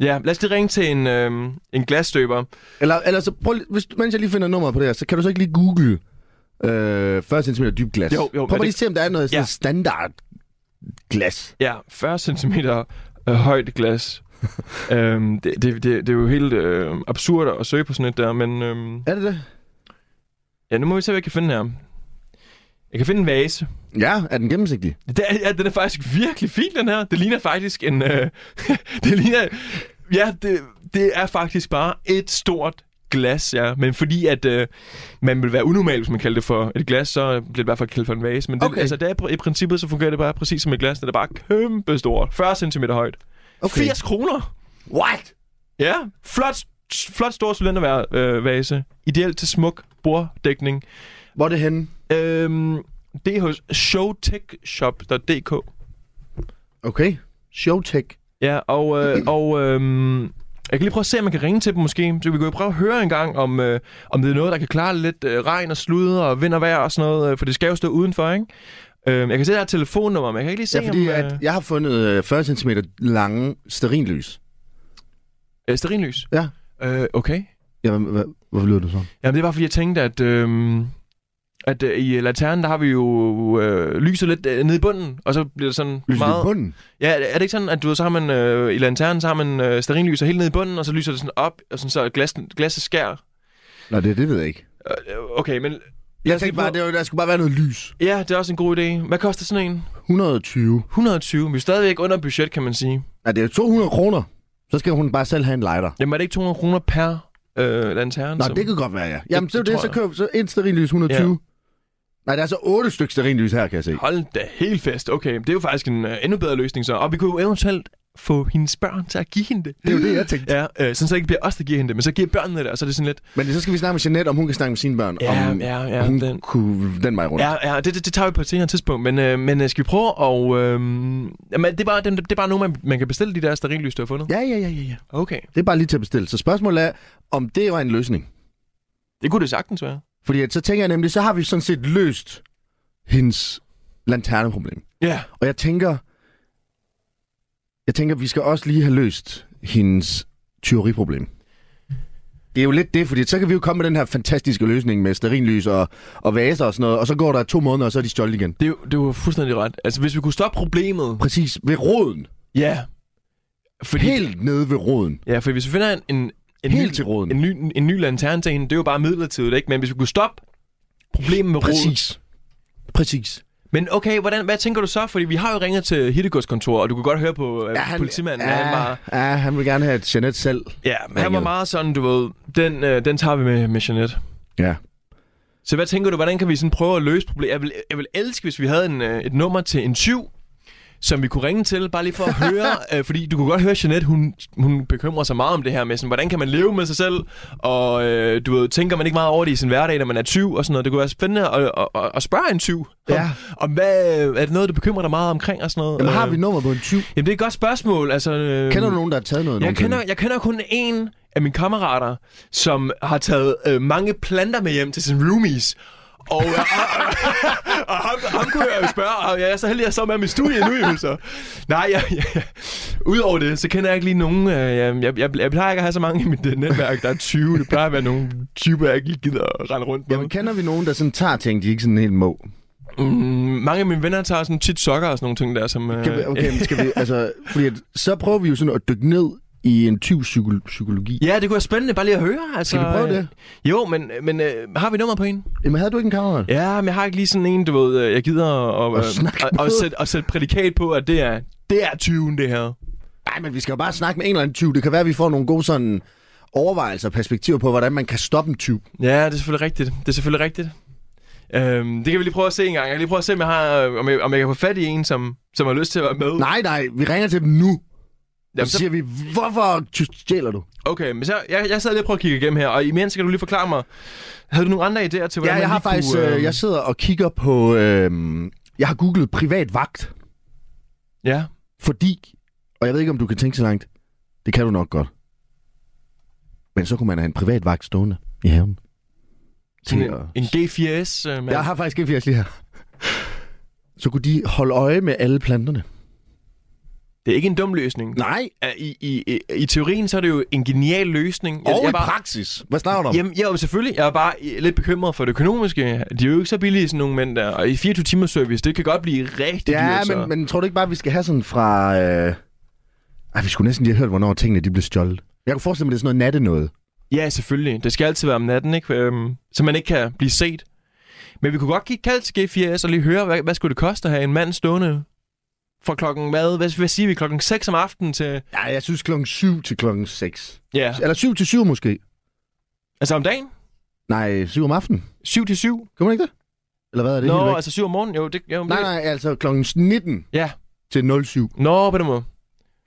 Ja, lad os lige ringe til en, øh, en glasstøber.
Eller, eller så prøv, lige- hvis, mens jeg lige finder nummeret på det her, så kan du så ikke lige google øh, 40 cm dyb glas?
Jo, jo,
prøv
men
bare
det-
lige at se, om der er noget sådan
Ja.
standard glas.
Ja, 40 cm øh, højt glas. øhm, det, det, det, det er jo helt øh, absurd at søge på sådan et der, men... Øh,
Er det det?
ja, nu må vi se, hvad jeg kan finde her. Jeg kan finde en vase.
Ja, er den gennemsigtig?
Det er, ja, den er faktisk virkelig fin, den her. Det ligner faktisk en... Øh, det ligner... Ja, det, det er faktisk bare et stort glas, ja. Men fordi at øh, man vil være unormal, hvis man kalder det for et glas, så bliver det i hvert fald kaldt for en vase. Men det,
Okay.
altså, det er, i princippet så fungerer det bare præcis som et glas. Det er bare kæmpe stort. 40 cm højt.
Okay.
80 kroner!
What?
Ja, flot, flot stor cylindervase. Øh, vase. Ideelt til smuk borddækning.
Hvor er det henne?
Øhm, det er hos showtechshop.dk.
Okay. Showtech.
Ja, og, øh, og øh, jeg kan lige prøve at se, om man kan ringe til dem måske. Så vi kan jo prøve at høre en gang, om, øh, om det er noget, der kan klare lidt øh, regn og sludder og vind og vejr og sådan noget. Øh, for det skal jo stå udenfor, ikke? Øh, jeg kan se, der er et telefonnummer, men jeg kan ikke lige se,
Ja, fordi
om...
at jeg har fundet øh, 40 cm lange sterinlys.
Øh, sterinlys.
Ja.
Øh, okay.
Jamen, hvad, hvorfor lyder du så?
Jamen, det er bare, fordi jeg tænkte, at... Øh, at øh, i lanternen, der har vi jo øh, lyset lidt øh, nede i bunden, og så bliver det sådan
Lyser det
meget...
i bunden?
Ja, er det ikke sådan, at du ved, så har man øh, i lanternen, så har man øh, sterinlyser helt nede i bunden, og så lyser det sådan op, og sådan, så glas, glasset skærer
Nej, det, det ved jeg ikke.
Øh, Okay, men...
Jeg, jeg tænkte bare, det var, der skulle bare være noget lys.
Ja, det er også en god idé. Hvad koster sådan en?
120.
120. Vi er stadigvæk under budget, kan man sige.
Nej, det er jo 200 kroner. Så skal hun bare selv have en lighter.
Jamen, er det ikke 200 kroner per øh, lanterne?
Nå,
som-
det kan godt være, ja. Jamen,
Det-
så er
det
det,
tror
så
jeg.
køb så en sterinlys 120. Nej, der er så otte stykker sterinlys her, kan jeg se.
Hold da helt fast. Okay, det er jo faktisk en øh, endnu bedre løsning så. Og vi kunne jo eventuelt få hendes børn til at give hende det.
Det er jo det, jeg tænkte.
Ja, øh, sådan så det ikke bliver os, der giver hende det, men så giver børnene det, og så er det sådan lidt...
Men så skal vi snakke med Jeanette, om hun kan snakke med sine børn.
Ja,
om
ja, ja,
hun
den-
kunne den vej rundt.
Ja, ja det, det, det tager vi på et senere tidspunkt, men, øh, men øh, skal vi prøve og... Øh, jamen, det, er bare, dem- det er bare nogen, man, man kan bestille de der sterillys, du har fundet.
ja, ja, ja, ja, ja.
Okay,
Det er bare lige til at bestille. Så spørgsmålet er, om det var en løsning.
det kunne det sagtens være.
Fordi at så tænker jeg nemlig, så har vi sådan set løst hendes lanterneproblem.
Ja. Yeah.
Og jeg tænker, jeg tænker, vi skal også lige have løst hendes tyveriproblem. Det er jo lidt det, fordi så kan vi jo komme med den her fantastiske løsning med sterinlys og, og vaser og sådan noget, og så går der to måneder, og så er de stjålet igen.
Det er, jo, det er jo fuldstændig ret. Altså, hvis vi kunne stoppe problemet...
Præcis, ved roden.
Ja. Fordi,
Helt nede ved roden.
Ja, for hvis vi finder en, en, en,
Helt
ny,
til roden.
en, ny, en ny lanterne til hende, det er jo bare midlertidigt, ikke? Men hvis vi kunne stoppe problemet med roden...
Præcis. Præcis.
Men okay, hvordan, hvad tænker du så? Fordi vi har jo ringet til Hittegods kontor, og du kan godt høre på øh, ja, politimanden,
ja,
at han var...
ja, han vil gerne have et Jeanette selv.
Ja, han var
ringede.
meget sådan, du ved, den, øh, den tager vi med, med Jeanette.
Ja.
Så hvad tænker du, hvordan kan vi sådan prøve at løse problemet? Jeg vil, jeg vil elske, hvis vi havde en, øh, et nummer til en tyv, som vi kunne ringe til, bare lige for at høre, øh, fordi du kunne godt høre, Jeanette, hun, hun bekymrer sig meget om det her med, sådan, hvordan kan man leve med sig selv, og øh, du ved, tænker man ikke meget over det i sin hverdag, når man er tyv og sådan noget. Det kunne være spændende at, at, at, at spørge en tyv,
Ja.
om, om hvad, er det noget, du bekymrer dig meget omkring og sådan noget?
Jamen, har vi
Øh,
nummer på en 20?
Jamen, det er et godt spørgsmål. Altså, øh,
Kender du nogen, der har taget noget?
jeg
nogensinde?
kender, jeg kender kun en af mine kammerater, som har taget øh, mange planter med hjem til sine roomies. Og, øh, og, og, og ham, ham kunne jeg jo spørge, og jeg er så heldig, at jeg så er med i mit studie nu, jo, så. Nej, jeg, jeg, udover det, så kender jeg ikke lige nogen. Øh, jeg, jeg, jeg, jeg plejer ikke at have så mange i mit øh, netværk, der er 20. Det plejer at være nogle typer, jeg ikke lige gider at rende rundt med.
Jamen, kender vi nogen, der sådan tager ting, de ikke sådan helt må?
Mm, mange af mine venner tager sådan tit sokker og sådan nogle ting der, som... Øh,
Kan vi, okay, men skal vi, altså, fordi at, så prøver vi jo sådan at dykke ned i en tyv psyko- psykologi.
Ja, det kunne være spændende bare lige at høre. Altså,
Skal vi prøve
øh,
det?
Jo, men, men øh, har vi nummer på en?
Jamen, havde du ikke en kammerat?
Ja, men jeg har ikke lige sådan en, du ved, øh, jeg gider at,
At
øh,
snakke
at, at,
med.
sætte, at sætte prædikat på, at det er, det er 20'en, det her.
Nej, men vi skal jo bare snakke med en eller anden tyv. Det kan være, at vi får nogle gode sådan overvejelser og perspektiver på, hvordan man kan stoppe en tyv.
Ja, det er selvfølgelig rigtigt. Det er selvfølgelig rigtigt. Øhm, det kan vi lige prøve at se en gang. Jeg kan lige prøve at se, om jeg, har, øh, om jeg, om jeg kan få fat i en, som, som har lyst til at være med.
Nej, nej, vi ringer til dem nu.
Jamen,
Jamen, så siger vi, hvorfor ty- stjæler du?
Okay, men så, jeg, jeg sad lige og prøvede at kigge igennem her, og imens skal du lige forklare mig, havde du nogle andre idéer til, hvordan
Ja,
man
jeg har
lige
faktisk,
kunne,
øh, jeg sidder og kigger på, øh, jeg har googlet privat vagt,
Ja,
fordi, og jeg ved ikke, om du kan tænke så langt, det kan du nok godt. Men så kunne man have en privat vagt stående i haven.
sådan
Til
en,
at-
en G4S. Øh, med-
Jeg har faktisk en lige her. Så kunne de holde øje med alle planterne.
Det er ikke en dum løsning.
Nej,
Øh, I, i, i, I teorien så er det jo en genial løsning.
og i
bare-
praksis. Hvad snakker du om?
Jamen, jeg er jo selvfølgelig. Jeg er bare øh, lidt bekymret for det økonomiske. De er jo ikke så billige, sådan nogle mænd der. Og i 24 timers service, det kan godt blive rigtig
Ja,
dyrt. så.
men, men tror du ikke bare, at vi skal have sådan fra... Øh... Ej, vi skulle næsten lige have hørt, hvornår tingene de blev stjålet. Jeg kunne forestille mig, det er sådan noget natte noget.
Ja, selvfølgelig. Det skal altid være om natten, ikke? Øhm, så man ikke kan blive set. Men vi kunne godt give kald til G4S og lige høre, hvad, hvad skulle det koste at have en mand stående fra klokken hvad? Hvad, hvad siger vi? Klokken 6 om aftenen til...
Ja, jeg synes klokken 7 til klokken 6.
Ja,
Eller 7 til 7 måske.
altså om dagen?
Nej, 7 om aftenen.
7 til 7?
Kan man ikke det? Eller hvad er det? helt
Nå,
væk?
altså 7 om morgenen? Jo, det... Jo,
Nej,
det,
nej, altså klokken 19
Ja.
til 07.
Nå, på den måde.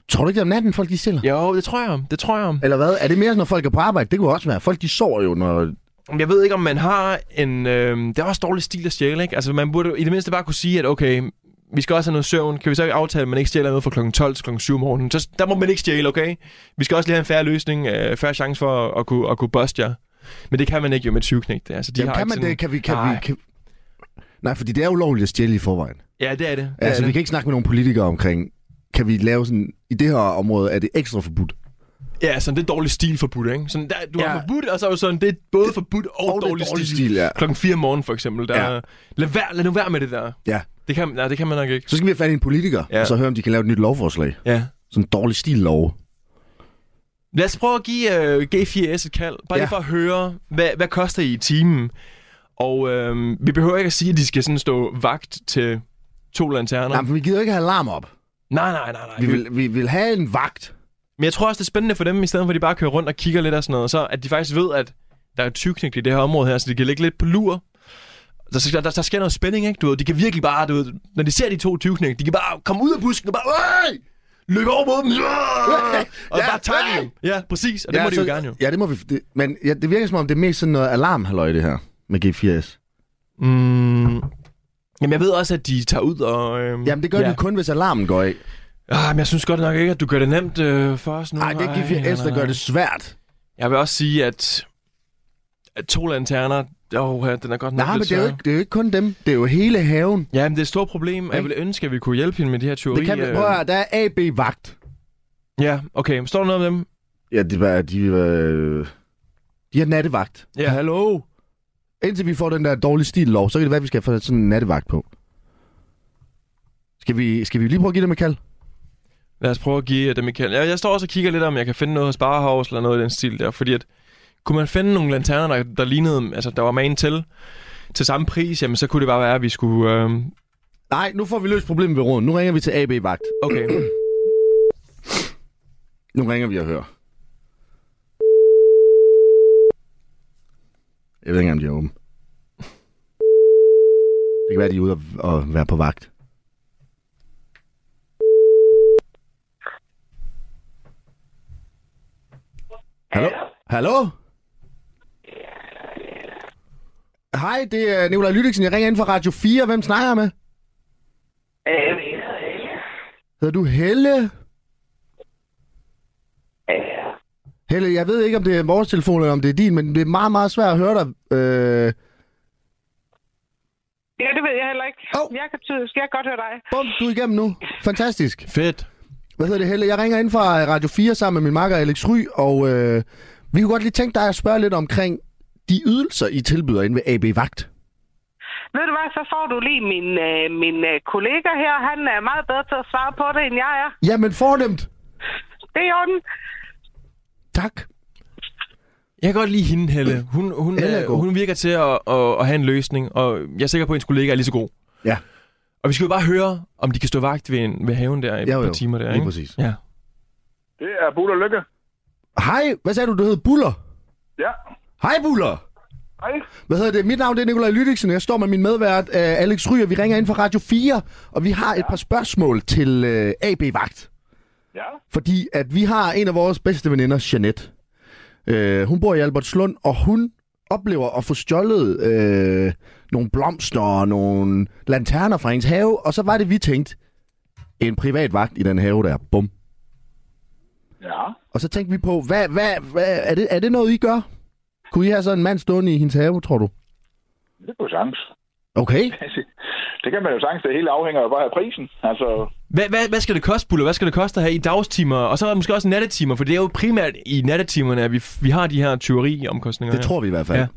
Tror du ikke, det er om natten, folk de stiller?
Jo, det tror jeg. Det tror jeg.
Eller hvad? Er det mere, når folk er på arbejde? Det kunne også være. Folk de sover jo, når...
Men Jeg ved ikke, om man har en... Øh, det er også dårlig stil at stjæle, ikke? Altså, man burde jo i det mindste bare kunne sige, at okay, vi skal også have noget søvn. Kan vi så ikke aftale, at man ikke stjæler noget fra kl. 12 til kl. 7 om morgenen? Så der må man ikke stjæle, okay? Vi skal også lige have en færre løsning, øh, færre chance for at, at, kunne, at kunne buste jer. Men det kan man ikke jo med 20 knægte. Altså, de
Jamen,
har
kan
ikke
man
sådan...
det? Kan vi... Kan
Nej.
vi kan... Nej, fordi det er ulovligt at stjæle i forvejen.
Ja, det er det. det,
Ja,
er
altså,
det.
vi kan ikke snakke med nogle politikere omkring, kan vi lave sådan, i det her område er det ekstra forbudt.
ja sådan, det er dårlig stil forbudt, ikke? Sådan, der, du ja.
Ja.
har forbudt, og så er jo sådan, det er både forbudt og,
og det er
dårlig,
dårlig
stil.
stil, ja.
Klokken 4 om morgenen, for eksempel. Der,
Ja.
ja. lad, være, lad nu være med det der.
Ja.
Det kan, nej, det kan man nok ikke.
Så skal vi have fat i en politiker, ja.
Ja.
og så høre, om de kan lave et nyt lovforslag.
Ja.
Sådan en dårlig stil-lov.
Lad os prøve at give øh, G4S et kald, bare ja.
Ja.
lige for at høre, hvad, hvad koster I i timen? Og øh, vi behøver ikke at sige, at de skal sådan stå vagt til to lanterner.
Nej,
Nej,
for vi gider ikke have alarm op.
nej, nej, nej.
Vi vil, vi vil have en vagt.
Men jeg tror også, det er spændende for dem, i stedet for at de bare kører rundt og kigger lidt og sådan noget, så at de faktisk ved, at der er tyvknægt i det her område her, så de kan ligge lidt på lur. Der, sker- der, der sker noget spænding, ikke? Du ved, de kan virkelig bare, du ved, når de ser de to tyvknægt, de kan bare komme ud af busken og bare, Øj! løbe over mod dem, Øj! og
Ja,
bare tackle
øj!
dem. Ja, præcis, og det
ja,
må de
så,
jo gerne jo.
Ja, det må vi. Det, men ja, det virker som om, det er mest sådan noget alarmhalløj, det her med G4S.
Mm. Jamen, jeg ved også, at de tager ud og... Øhm,
Jamen, det gør ja.
ja.
det jo kun, hvis alarmen går af.
Ah, men jeg synes godt nok ikke, at du gør det nemt øh, for os nu.
Nej, det er
Ej, nej,
G4S, der
nej.
gør det svært.
Jeg vil også sige, at, at to lanterner... Åh, ja, den er godt nok
Nej, men
lidt
det er, jo
svær.
ikke, det er jo ikke kun dem. Det er jo hele haven.
Ja, men det er et stort problem, og jeg ville ønske, at vi kunne hjælpe hende med de her teorier.
Det kan vi prøve at høre, Der er AB-vagt.
Ja, okay. Står der noget om dem?
Ja, det var, de, øh, de har nattevagt.
Ja. Hallo?
Indtil vi får den der dårlige stil-lov, så kan det være, at vi skal få sådan en nattevagt på. Skal vi, skal vi lige prøve at give dem et kald?
Lad os prøve at give det, Michael. Jeg, jeg står også og kigger lidt om, jeg kan finde noget hos Barhaus eller noget i den stil der, fordi at, kunne man finde nogle lanterner, der, der lignede, altså der var magen til, til samme pris, jamen så kunne det bare være, at vi skulle... Øh...
Nej, nu får vi løst problemet ved råden. Nu ringer vi til AB Vagt.
Okay.
Nu ringer vi og hører. Jeg ved ikke engang, om de er åbne. Det kan være, de er ude og, og være på vagt. Hallo? Hallo? Hej, det er Nikolaj Lydiksen. Jeg ringer ind fra Radio 4. Hvem snakker jeg med?
Øh,
Hedder du Helle? Helle, jeg ved ikke, om det er vores telefon, eller om det er din, men det er meget, meget svært at høre dig. Øh,
ja, det ved jeg heller ikke.
Hov.
Jeg kan tydeligt, jeg kan godt høre dig.
bum, du er igennem nu. Fantastisk.
Fedt.
Hvad hedder det, Helle? Jeg ringer ind fra øh, Radio 4 sammen med min makker Alex Ry, og øh, vi kunne godt lige tænke dig at spørge lidt omkring de ydelser, I tilbyder inde ved AB Vagt.
Ved du hvad, så får du lige min, øh, min øh, kollega her. Han er meget bedre til at svare på det, end jeg er.
Jamen, fornemt.
Det er i orden.
Tak.
Jeg kan godt lide hende, Helle. Hun, hun,
Helle er
øh,
god.
hun virker til at, at, at have en løsning, og jeg er sikker på, at hendes kollega er lige så god.
Ja.
Og vi skal jo bare høre, om de kan stå vagt ved, en, ved haven der i et
Jo,
par
jo.
timer der,
Lige
ikke?
præcis.
Ja.
Det er Buller Lykke.
Hej, hvad sagde du, du hed Buller?
Ja.
Hej, Buller.
Hej.
Hvad hedder det? Mit navn det er Nikolaj Lydiksen, og jeg står med min medvært øh, Alex Ry, og vi ringer ind fra Radio 4, og vi har et par spørgsmål til øh, AB Vagt.
Ja.
Fordi at vi har en af vores bedste veninder, Jeanette. Øh, hun bor i Albertslund, og hun oplever at få stjålet øh, nogle blomster og nogle lanterner fra hendes have. Og så var det, vi tænkte, en privat vagt i den have der. Bum.
Ja.
Og så tænkte vi på, hvad, hvad, hvad, er, det, er det noget, I gør? Kunne I have sådan en mand stående i hendes have, tror du?
Det kunne sagtens.
Okay.
Det kan man jo sagtens. Det hele afhænger jo bare af prisen. Altså,
Hvad, hvad, hvad skal det koste, Buller? Hvad skal det koste her i dagstimer? Og så måske også nattetimer, for det er jo primært i nattetimerne, at vi, vi har de her tyveriomkostninger.
Det
her.
tror vi i hvert fald.
Ja.
Ja.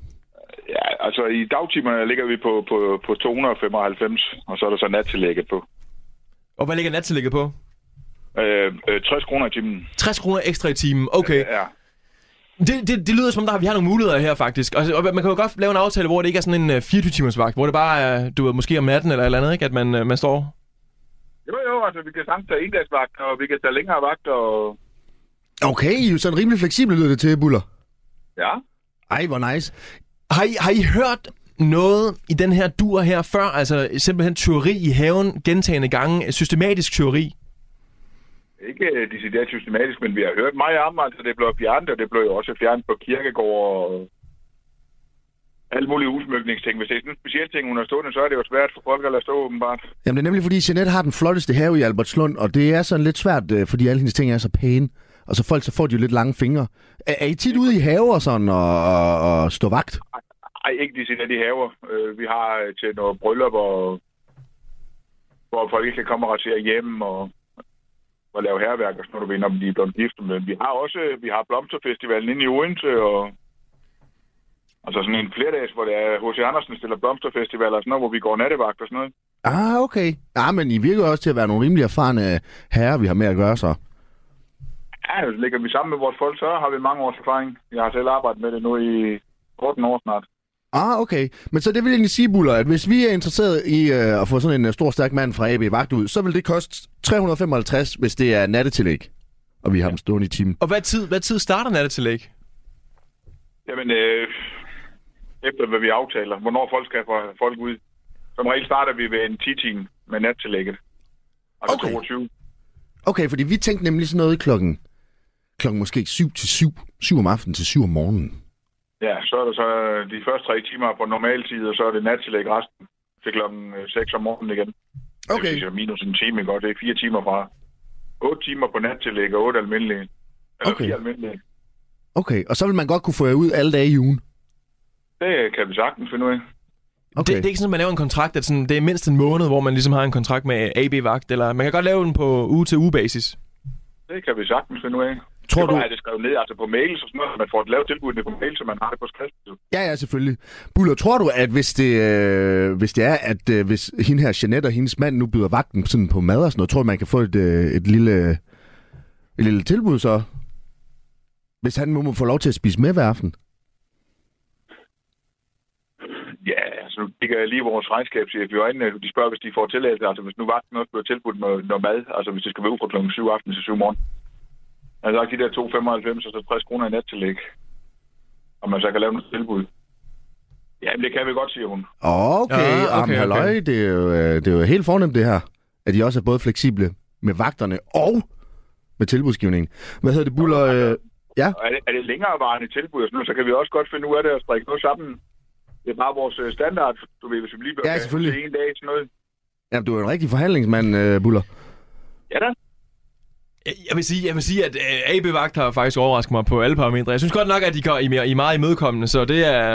ja, altså i dagtimerne ligger vi på, på, på 295, og så er der så nattillægget på.
Og hvad ligger nattillægget på?
Øh, øh, 60 kroner i timen.
60 kroner ekstra i timen. Okay.
Ja.
Det, det, det lyder som om, der har, vi har nogle muligheder her, faktisk. Og, og man kan jo godt lave en aftale, hvor det ikke er sådan en øh, 24-timers vagt, hvor det bare er, du ved, måske om natten eller et eller andet, ikke? at man, øh, man står...
Jo, jo, altså vi kan sagtens tage endagsvagt, og vi kan tage længere vagt, og
Okay, I er jo sådan rimelig fleksible, lyder det til, Buller.
ja.
Ej, hvor nice.
Har I, har I hørt noget i den her dur her før? Altså simpelthen tyveri i haven gentagende gange, systematisk tyveri.
Ikke øh, decideret systematisk, men vi har hørt meget om, altså det blev fjernet, og det blev jo også fjernet på kirkegård og alle mulige udsmykningsting. Hvis det er sådan en speciel ting under stående, så er det jo svært for folk at lade stå åbenbart.
Jamen, det er nemlig, fordi Jeanette har den flotteste have i Albertslund, og det er sådan lidt svært, øh, fordi alle hendes ting er så pæne. Og så folk, så får de jo lidt lange fingre. Er, er I tit ude i haver og sådan, og, og, og stå vagt?
Ej, ikke de sine, de haver. Øh, vi har øh, til noget bryllup, og, hvor folk ikke kan komme og rasere hjem og, og lave herværk, og sådan noget, du ved, når de er blevet gift. Men vi har også øh, vi har blomsterfestivalen inde i Odense, og altså sådan en flerdags, hvor det er H.C. Andersen stiller blomsterfestival og sådan noget, hvor vi går nattevagt og sådan noget.
Ah, okay. Ah, men I virker jo også til at være nogle rimelig erfarne øh, herrer, vi har med at gøre så.
Ja, så ligger vi sammen med vores folk, så har vi mange års erfaring. Jeg har selv arbejdet med det nu i 14 år snart.
Ah, okay. Men så det vil jeg egentlig sige, Buller, at hvis vi er interesseret i øh, at få sådan en øh, stor, stærk mand fra AB Vagt ud, så vil det koste 355, hvis det er nattetillæg. Og vi har dem stående i timen.
Og hvad tid, hvad tid starter nattetillæg?
Jamen, øh, efter hvad vi aftaler, hvornår folk skal få folk ud. Som regel starter vi ved en 10-time med nattillægget. Altså
Okay.
okay. 22.
Okay, fordi vi tænkte nemlig sådan noget klokken, klokken måske 7 til 7, 7 om aftenen til 7 om morgenen.
Ja, så er der så øh, de første tre timer på normal tid, og så er det nattillæg resten til klokken øh, 6 om morgenen igen. Det vil sige, så minus en time, ikke? Og det er fire timer fra. 8 timer på nattillæg og 8 almindelige.
Okay.
Eller okay. 4 almindelige.
Okay, og så vil man godt kunne få jer ud alle dage i ugen.
Det kan vi sagtens finde ud af.
Okay.
Det, det er ikke sådan, at man laver en kontrakt, at sådan, det er mindst en måned, hvor man ligesom har en kontrakt med AB-vagt, eller man kan godt lave den på uge-til-uge-basis.
Det kan vi sagtens finde ud af.
Tror
det
du-
du... Det skrevet ned, altså på mails og sådan noget. så Man får et lavt tilbud på mail, så man har det på skrift. jo.
Ja, ja, selvfølgelig. Buller, tror du, at hvis det, øh, hvis det er, at øh, hvis hende her Jeanette og hendes mand nu byder vagten sådan på mad og sådan noget, tror du, man kan få et, øh, et lille, et lille tilbud så. Hvis han nu må få lov til at spise med hver aften.
Ja, altså nu kigger jeg lige vores regnskabschef i øjnene. De spørger, hvis de får tilladelse. Altså hvis nu vagten også bliver tilbudt noget, noget mad. Altså hvis det skal være ud fra kl. 7 aften til 7 morgen. Altså de der 2,95 og så 60 kroner i nattillæg. Og man så kan lave noget tilbud. Ja, men det kan vi godt, siger hun.
Åh, okay,
Ja, okay,
ja, okay,
okay.
halløj, Det, er jo, øh, det er jo helt fornemt det her, at de også er både fleksible med vagterne og med tilbudsgivningen. Hvad hedder det, Buller? Øh, ja,
Og er det, er det længerevarende tilbud, og sådan noget, så kan vi også godt finde ud af det og strikke noget sammen. Det er bare vores øh, standard, du ved, hvis vi lige bliver
Ja, selvfølgelig.
til en dag sådan noget.
jamen, du er jo en rigtig forhandlingsmand, øh, Buller.
Ja da.
Jeg- Jeg vil sige, jeg vil sige at øh, AB Vagt har faktisk overrasket mig på alle parametre. Jeg synes godt nok, at de går- I er- I er meget imødekommende, så det er,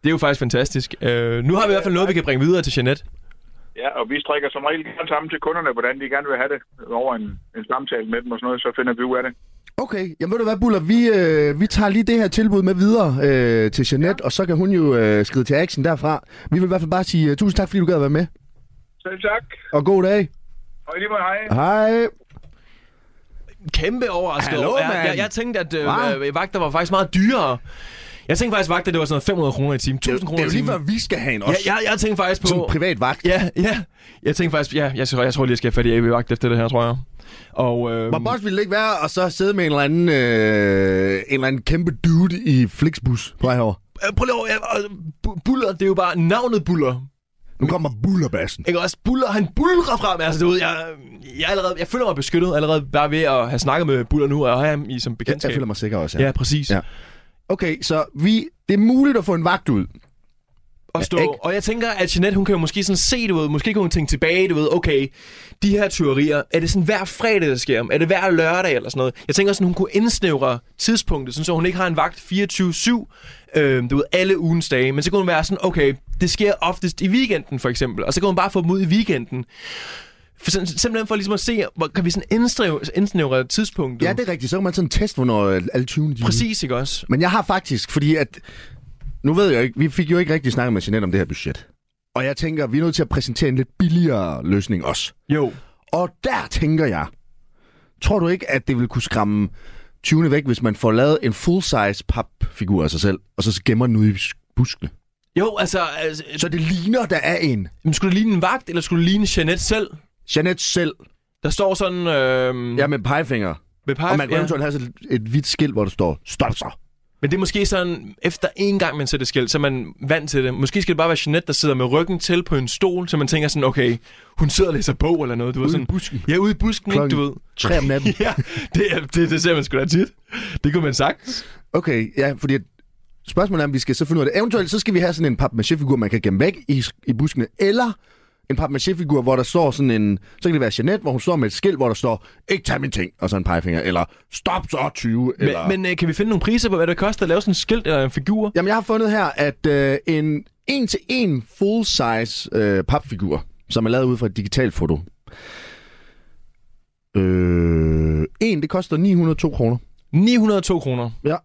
det er jo faktisk fantastisk. Øh, nu har vi i hvert fald noget, vi kan bringe videre til Jeanette.
Ja, og vi strikker som regel gerne sammen til kunderne, hvordan de gerne vil have det over en, en samtale med dem og sådan noget, så finder vi ud af det.
Okay, jamen ved du hvad, Buller, vi, øh, vi tager lige det her tilbud med videre øh, til Jeanette, ja. og så kan hun jo øh, skride til action derfra. Vi vil i hvert fald bare sige uh, tusind tak, fordi du gad at være med,
Selv tak,
og god dag.
og i lige måde hej.
Hej.
Kæmpe overrasket.
Hallo,
over- jeg,
mand.
jeg, jeg tænkte, at øh,
Hva?
øh, vagter var faktisk meget dyrere. Jeg tænkte faktisk, at vagter det var sådan noget 500 kroner i timen, 1000 kroner i timen.
vi skal have en
Ja, jeg, jeg tænkte faktisk på...
Som privat vagt.
Ja, ja. Jeg tænkte faktisk, ja, jeg, tror, jeg tror lige, jeg skal have fat i AB Vagt efter det her, tror jeg. Og, øh,
Hvor boss ville det ikke være at så sidde med en eller anden, øh, en eller anden kæmpe dude i Flixbus på vej herover.
Øh, prøv lige at, øh, bu- Buller, det er jo bare navnet Buller.
Nu kommer bullerbassen.
Ikke også? Buller, han bulrer frem. Altså, du ved, jeg, jeg, er allerede, jeg føler mig beskyttet allerede bare ved at have snakket med Buller nu, og have ham i som
Jeg,
bekendtskab.
jeg føler mig sikker også,
ja. ja, præcis.
Ja.
Ja.
Okay, så vi, det er muligt at få en vagt ud.
Og, stå,
Ja,
ja,
ikke?
og jeg tænker, at Jeanette, hun kan jo måske sådan se, du ved, måske kan hun tænke tilbage, du ved, okay, de her tyverier, er det sådan hver fredag, der sker dem? Er det hver lørdag eller sådan noget? Jeg tænker sådan, hun kunne indsnævre tidspunktet, sådan så hun ikke har en vagt 24-7, øh, du ved, alle ugens dage, men så kunne hun være sådan, okay, det sker oftest i weekenden for eksempel, og så kan hun bare få dem ud i weekenden. For, sådan- simpelthen for ligesom at se, hvor, kan vi sådan indsnævre, indsnævre tidspunktet?
Ja, det er rigtigt. Så kan man sådan teste, hvornår øh, alle 20 de er ude.
Præcis, ikke også?
Men jeg har faktisk, fordi at... Nu ved jeg ikke, vi fik jo ikke rigtig snakket med Jeanette om det her budget. Og jeg tænker, vi er nødt til at præsentere en lidt billigere løsning også.
Jo.
Og der tænker jeg, tror du ikke, at det vil kunne skræmme 20'erne væk, hvis man får lavet en full-size papfigur af sig selv, og så gemmer den ude i buskene?
Jo, altså, altså
Så det ligner, der er en.
men skulle det ligne en vagt, eller skulle det ligne Jeanette selv?
Jeanette selv,
Der står sådan... Øh,
ja med pegefinger.
Med pege,
Og man kan
ja.
eventuelt have sådan et hvidt skilt, hvor der står, stop så.
Men det er måske sådan, efter en gang man sætter skilt, så er man vant til det. Måske skal det bare være Jeanette, der sidder med ryggen til på en stol, så man tænker sådan, okay, hun sidder og læser bog eller noget. Du ved,
Ude i
sådan,
busken.
Ja, ude i busken, ikke, du
Klokken
ved.
Tre om natten.
Ja, det, er- det, det ser man sgu da tit. Det kunne man sagtens.
Okay, ja, fordi at spørgsmålet er, om vi skal så finde ud af det. Eventuelt så skal vi have sådan en papmaché-figur, man kan gemme væk i, i buskene, eller en papmaché-figur, hvor der står sådan en... Så kan det være Jeanette, hvor hun står med et skilt, hvor der står, ikke tag min ting, og så en pegefinger, eller stop så 20,
Men,
eller...
men øh, kan vi finde nogle priser på, hvad det koster at lave sådan en skilt eller en figur?
Jamen, jeg har fundet her, at øh, en en-til-en full-size øh, papfigur, som er lavet ud fra et digitalt foto. Øh, en, det koster 902 kroner.
902 kroner.
Ja.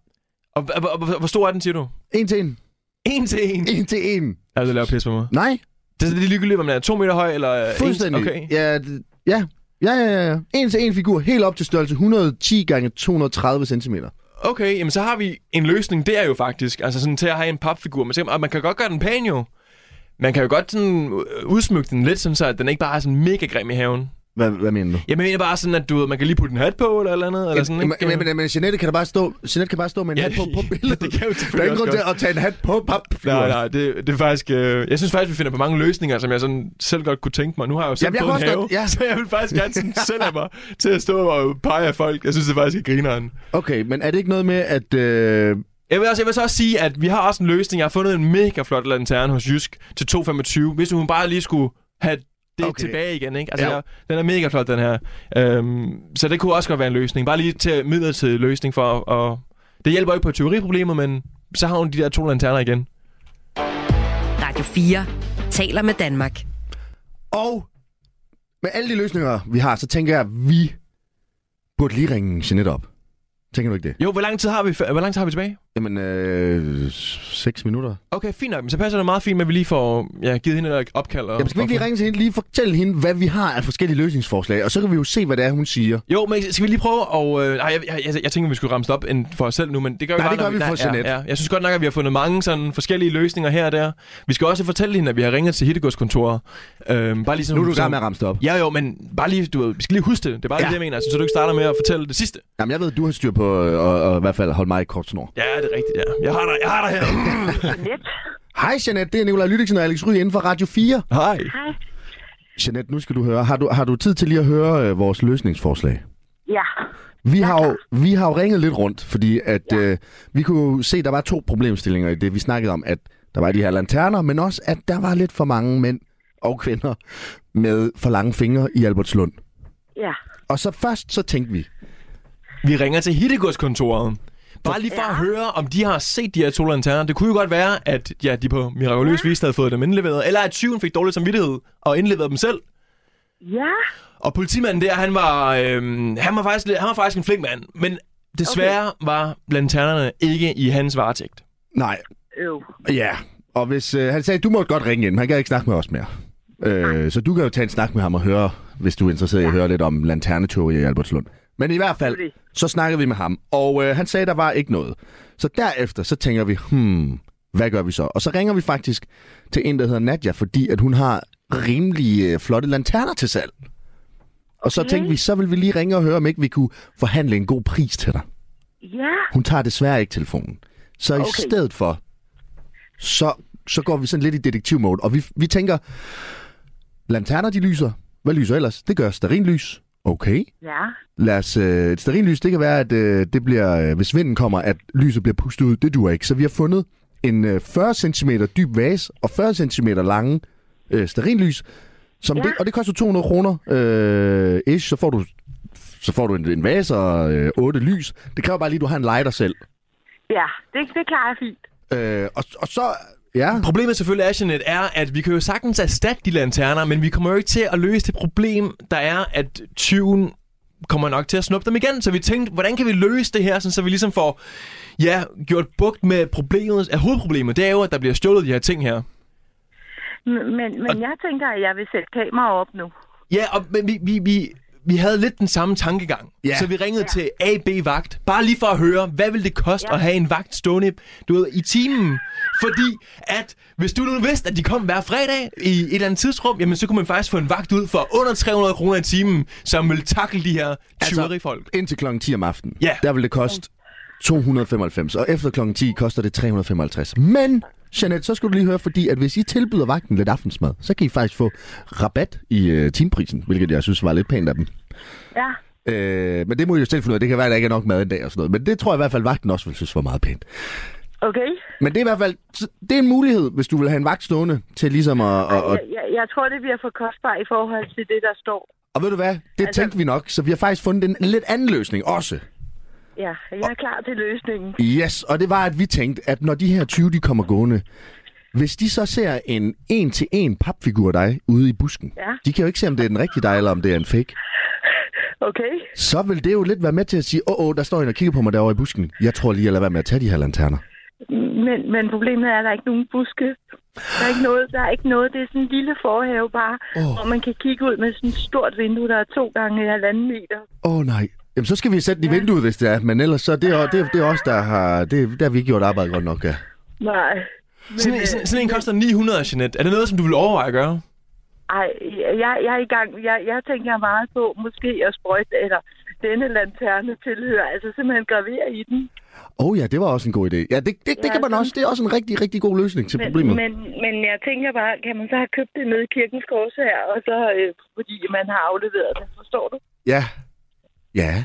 Og, h- h- h- hvor stor er den, siger du?
En til en.
En til en.
En til en.
Altså, det laver pis på mig.
Nej,
Det er det er ligegyldigt, om den er to meter høj eller... øh, en-
Fuldstændig.
Okay.
Ja, det- ja. Ja, ja, ja, ja. En til en figur, helt op til størrelse 110 gange 230 cm.
Okay, jamen så har vi en løsning der jo faktisk. Altså sådan til at have en papfigur. Men så- og man kan godt gøre den pæn jo. Man kan jo godt sådan øh, udsmykke den lidt, sådan så at den ikke bare er sådan mega grim i haven.
Hvad, hvad mener du?
Jeg mener bare sådan, at du ved, man kan lige putte en hat på eller et eller andet. Eller sådan,
Jamen,
ikke? øh,
jamen, jamen, men Jeanette kan da bare stå, Jeanette kan bare stå med en
Ja,
ja, hat på, på billedet.
det kan jo
Der er
selvfølgelig
ingen
også
grund til
godt.
at tage en hat på papfiguren.
Øh, Nej, nej, det, det er faktisk... Øh, jeg synes faktisk, vi finder på mange løsninger, som jeg sådan selv godt kunne tænke mig. Nu har jeg jo selv
Jamen, jeg
fået en
kan også
have,
godt- ja.
så jeg vil faktisk gerne sådan selv have mig til at stå og pege af folk. Jeg synes, det er faktisk er grineren.
Okay, men er det ikke noget med, at... Øh,
Jeg vil, også, jeg vil så også sige, at vi har også en løsning. Jeg har fundet en mega flot lanterne hos Jysk til 2,25. Hvis nu hun bare lige skulle have det okay.
Okay.
tilbage igen, ikke? Altså,
Ja.
ja. jeg, den er mega flot, den her. Øhm, så det kunne også godt være en løsning. Bare lige til midlertidig løsning for at... Og det hjælper ikke på teoriproblemet, men så har hun de der to lanterner igen.
Radio 4 taler med Danmark.
og med alle de løsninger, vi har, så tænker jeg, at vi burde lige ringe Jeanette op. Tænker du ikke det?
Jo, hvor lang tid har vi, f- hvor lang tid har vi tilbage?
Jamen, øh, 6 minutter.
Okay, fint nok. Men så passer det meget fint med, at vi lige får ja, givet hende et opkald. Og,
Jamen, skal vi ikke lige ringe til hende, lige fortælle hende, hvad vi har af forskellige løsningsforslag, og så kan vi jo se, hvad det er, hun siger.
Jo, men skal vi lige prøve og... Øh, nej, jeg, jeg, jeg, jeg tænker, vi skulle ramse det op en for os selv nu, men det gør vi
Nej,
bare,
det gør
når
vi for Jeanette.
Ja, ja. Jeg synes godt nok, at vi har fundet mange sådan forskellige løsninger her og der. Vi skal også fortælle hende, at vi har ringet til Hittegodskontoret. Øhm, bare lige sådan,
Nu er du i
sådan-
gang med at ramse det op.
Ja, jo, men bare lige, du, ved, vi skal lige huske det. Det er bare
Ja.
ja. det, jeg mener. Altså, så du ikke starter med at fortælle det sidste.
Jamen, jeg ved, du har styr på, øh, og, og i hvert fald holde mig i kort snor.
Ja, det er rigtigt, ja. Jeg har dig, jeg har dig her.
Lidt.
Hej, Jeanette. Det er Nikolaj Lydiksen og Alex Ry inden for Radio 4.
Hej.
Jeanette, nu skal du høre. Har du, har du tid til lige at høre øh, vores løsningsforslag?
Ja.
Vi har, jo, vi har jo ringet lidt rundt, fordi at ja. øh, vi kunne jo se, at der var to problemstillinger i det, vi snakkede om. At der var de her lanterner, men også, at der var lidt for mange mænd og kvinder med for lange fingre i Albertslund.
Ja.
Og så først så tænkte vi,
Vi ringer til Hittegodskontoret. Bare lige for at høre, om de har set de her to lanterner. Det kunne jo godt være, at ja, de på mirakuløs vis havde fået dem indleveret, eller at tyven fik dårlig samvittighed og indleverede dem selv.
Ja.
Og politimanden der, han var, øhm, han var, faktisk, lidt- han var faktisk en flink mand, men desværre okay. var lanternerne ikke i hans varetægt.
nej,
Øv.
ja. Og hvis øh, han sagde, du må godt ringe ind, han kan ikke snakke med os mere. Øh, så du kan jo tage en snak med ham og høre, hvis du er interesseret i at høre lidt om lanterneteori i Albertslund. Men i hvert fald, så snakkede vi med ham, og øh, han sagde, der var ikke noget. Så derefter, så tænker vi, hmm, hvad gør vi så? Og så ringer vi faktisk til en, der hedder Nadja, fordi at hun har rimelig øh, flotte lanterner til salg. Og så tænkte vi, så vil vi lige ringe og høre, om ikke vi kunne forhandle en god pris til dig.
Ja.
Hun tager desværre ikke telefonen. Så okay. i stedet for, så, så går vi sådan lidt i detektivmode, og vi, vi tænker, lanterner de lyser. Hvad lyser ellers? Det gør sterinlys. Okay.
Ja.
Lad os, øh, et sterinlys, det kan være, at øh, det bliver, øh, hvis vinden kommer, at lyset bliver pustet ud. Det duer ikke. Så vi har fundet en øh, 40 cm dyb vase og 40 cm lange øh, sterinlys. Som ja. det, og det koster 200 kroner øh, ish, så får du, så får du en, en vase og øh, 8 lys. Det kræver bare lige, at du har en lighter selv.
Ja. Det, det klarer jeg fint.
Øh, og, og så, ja,
Problemet selvfølgelig er, Jeanette, er, at vi kan jo sagtens erstatte de lanterner, men vi kommer jo ikke til at løse det problem, der er, at tyven kommer nok til at snuppe dem igen. Så vi tænkte, hvordan kan vi løse det her, sådan, så vi ligesom får ja, gjort bugt med problemet. At hovedproblemet, det er jo, at der bliver stjålet de her ting her.
M- Men, men jeg tænker, at jeg vil sætte kamera op nu.
Ja, og men vi, vi, vi, vi havde lidt den samme tankegang.
Ja.
Så vi ringede ja. til AB Vagt, bare lige for at høre, hvad ville det koste ja. at have en vagt stående du ved, i timen? Fordi at hvis du nu vidste, at de kom hver fredag i et eller andet tidsrum, jamen så kunne man faktisk få en vagt ud for under 300 kroner i timen, som ville takle de her tyverifolk.
indtil klokken 10 om aftenen,
Ja.
der vil det koste 295, og efter klokken 10 koster det 355. Men, Jeanette, så skal du lige høre, fordi at hvis I tilbyder vagten lidt aftensmad, så kan I faktisk få rabat i øh, timeprisen, hvilket jeg synes var lidt pænt af dem.
Ja.
Øh, men det må I jo selv finde ud af. Det kan være, at der ikke er nok mad en dag og sådan noget. Men det tror jeg i hvert fald, vagten også vil synes var meget pænt.
Okay.
Men det er i hvert fald så det er en mulighed, hvis du vil have en vagt stående til ligesom at... Og, og,
Jeg, jeg, jeg tror, det bliver for kostbart i forhold til det, der står.
og ved du hvad? Det
Altså-
tænkte vi nok, så vi har faktisk fundet en lidt anden løsning også.
Ja. Jeg er klar til løsningen.
Yes, og det var, at vi tænkte, at når de her 20 de kommer gående, hvis de så ser en en-til-en papfigur af dig ude i busken,
Ja.
de kan jo ikke se, om det er den rigtige dig, eller om det er en fake,
Okay.
så vil det jo lidt være med til at sige, åh, oh, oh, der står en og kigger på mig derovre i busken. Jeg tror lige, jeg lader være med at tage de her lanterner.
Men, men problemet er, at der er ikke nogen buske. Der er ikke noget. Der er ikke noget. Det er sådan en lille forhave bare, oh. hvor man kan kigge ud med sådan et stort vindue, der er to gange halvanden meter.
Åh oh, nej. Jamen, så skal vi sætte den i vinduet, hvis det er. Men ellers så er det, det, det er os, der har... Det, der har vi ikke gjort arbejde godt nok, ja.
Nej.
Sådan, en- sådan, sådan en koster 900, Jeanette. Er det noget, som du vil overveje at gøre?
Ej, jeg, jeg er i gang. Jeg, jeg tænker meget på måske at sprøjte, eller denne lanterne tilhører, altså simpelthen gravere i den.
Åh oh, ja, det var også en god idé. Ja, det, det, det
Ja,
kan man
sådan-
også. Det er også en rigtig, rigtig god løsning til problemet.
Men, men, men jeg tænker bare, kan man så have købt det nede i kirkens kors her, og så øh, fordi man har afleveret det, forstår du?
Ja. Ja.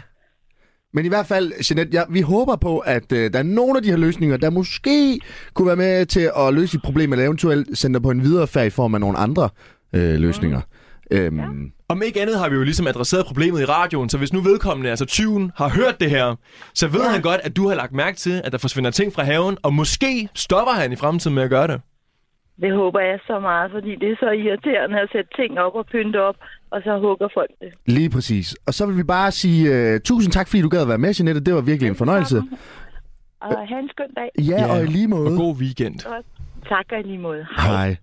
Men i hvert fald, Jeanette, ja, vi håber på, at øh, der er nogle af de her løsninger, der måske kunne være med til at løse et problem, eller eventuelt sende dig på en videre færd i form af nogle andre øh, løsninger. Mm. Øhm, ja.
Om ikke andet har vi jo ligesom adresseret problemet i radioen, så hvis nu vedkommende, altså tyven, har hørt det her, så ved ja. han godt, at du har lagt mærke til, at der forsvinder ting fra haven, og måske stopper han i fremtiden med at gøre det.
Det håber jeg så meget, fordi det er så irriterende at sætte ting op og pynte op, og så hugger folk det.
Lige præcis. Og så vil vi bare sige øh, tusind tak, fordi du gad at være med, Jeanette. Det var virkelig en fornøjelse.
og have en skøn dag.
Ja,
Ja.
og i lige måde.
Og god weekend.
Og tak og i lige måde.
Hej.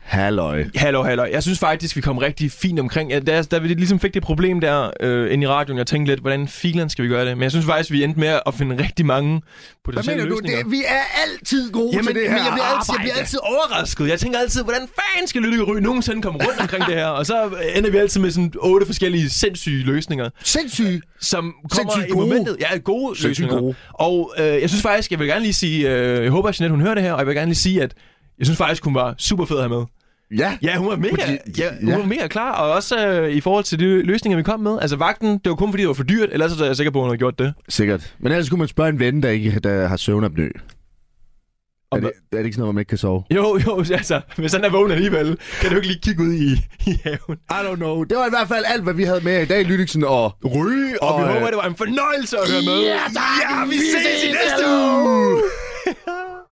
Halløj.
Hallo, hallo. Jeg synes faktisk, vi kom rigtig fint omkring. Ja, Da, jeg- da vi ligesom fik det problem der øh, inde i radioen, jeg tænkte lidt, hvordan filen skal vi gøre det? Men jeg synes faktisk, vi endte med at finde rigtig mange
Hvad
potentielle
mener du?
løsninger.
Det, vi er altid gode
Jamen,
til det her
men jeg bliver, altid, jeg
arbejde.
bliver altid overrasket. Jeg tænker altid, hvordan fanden skal Lytte Ry nogensinde komme rundt omkring det her? Og så ender vi altid med sådan otte forskellige sindssyge løsninger,
Sindssyge.
som kommer
Sindssygt
i
gode.
momentet. Ja, gode
Sindssygt
løsninger.
gode.
Og øh, jeg synes faktisk, jeg vil gerne lige sige, øh, jeg håber, at Jeanette, hun hører det her, og jeg vil gerne lige sige, at jeg synes faktisk, hun var super fed at have med.
Ja.
Ja, hun var mega,
Fordi-
ja, hun
ja.
var mega klar, og også øh, i forhold til de løsninger, vi kom med. Altså vagten, det var kun fordi, det var for dyrt, ellers er jeg sikker på, at hun havde gjort det.
Sikkert. Men ellers kunne man spørge en ven, der, ikke, der har søvnapnø. Er
Om-
det, er det ikke sådan noget, man ikke kan sove?
Jo, jo, altså, hvis han er vågen alligevel, kan du ikke lige kigge ud i, i haven.
I don't know. Det var i hvert fald alt, hvad vi havde med i dag, Lyttiksen og...
Ryge, og, og vi
øh,
håber, det var en fornøjelse at høre med.
Ja, tak!
Ja, vi ses!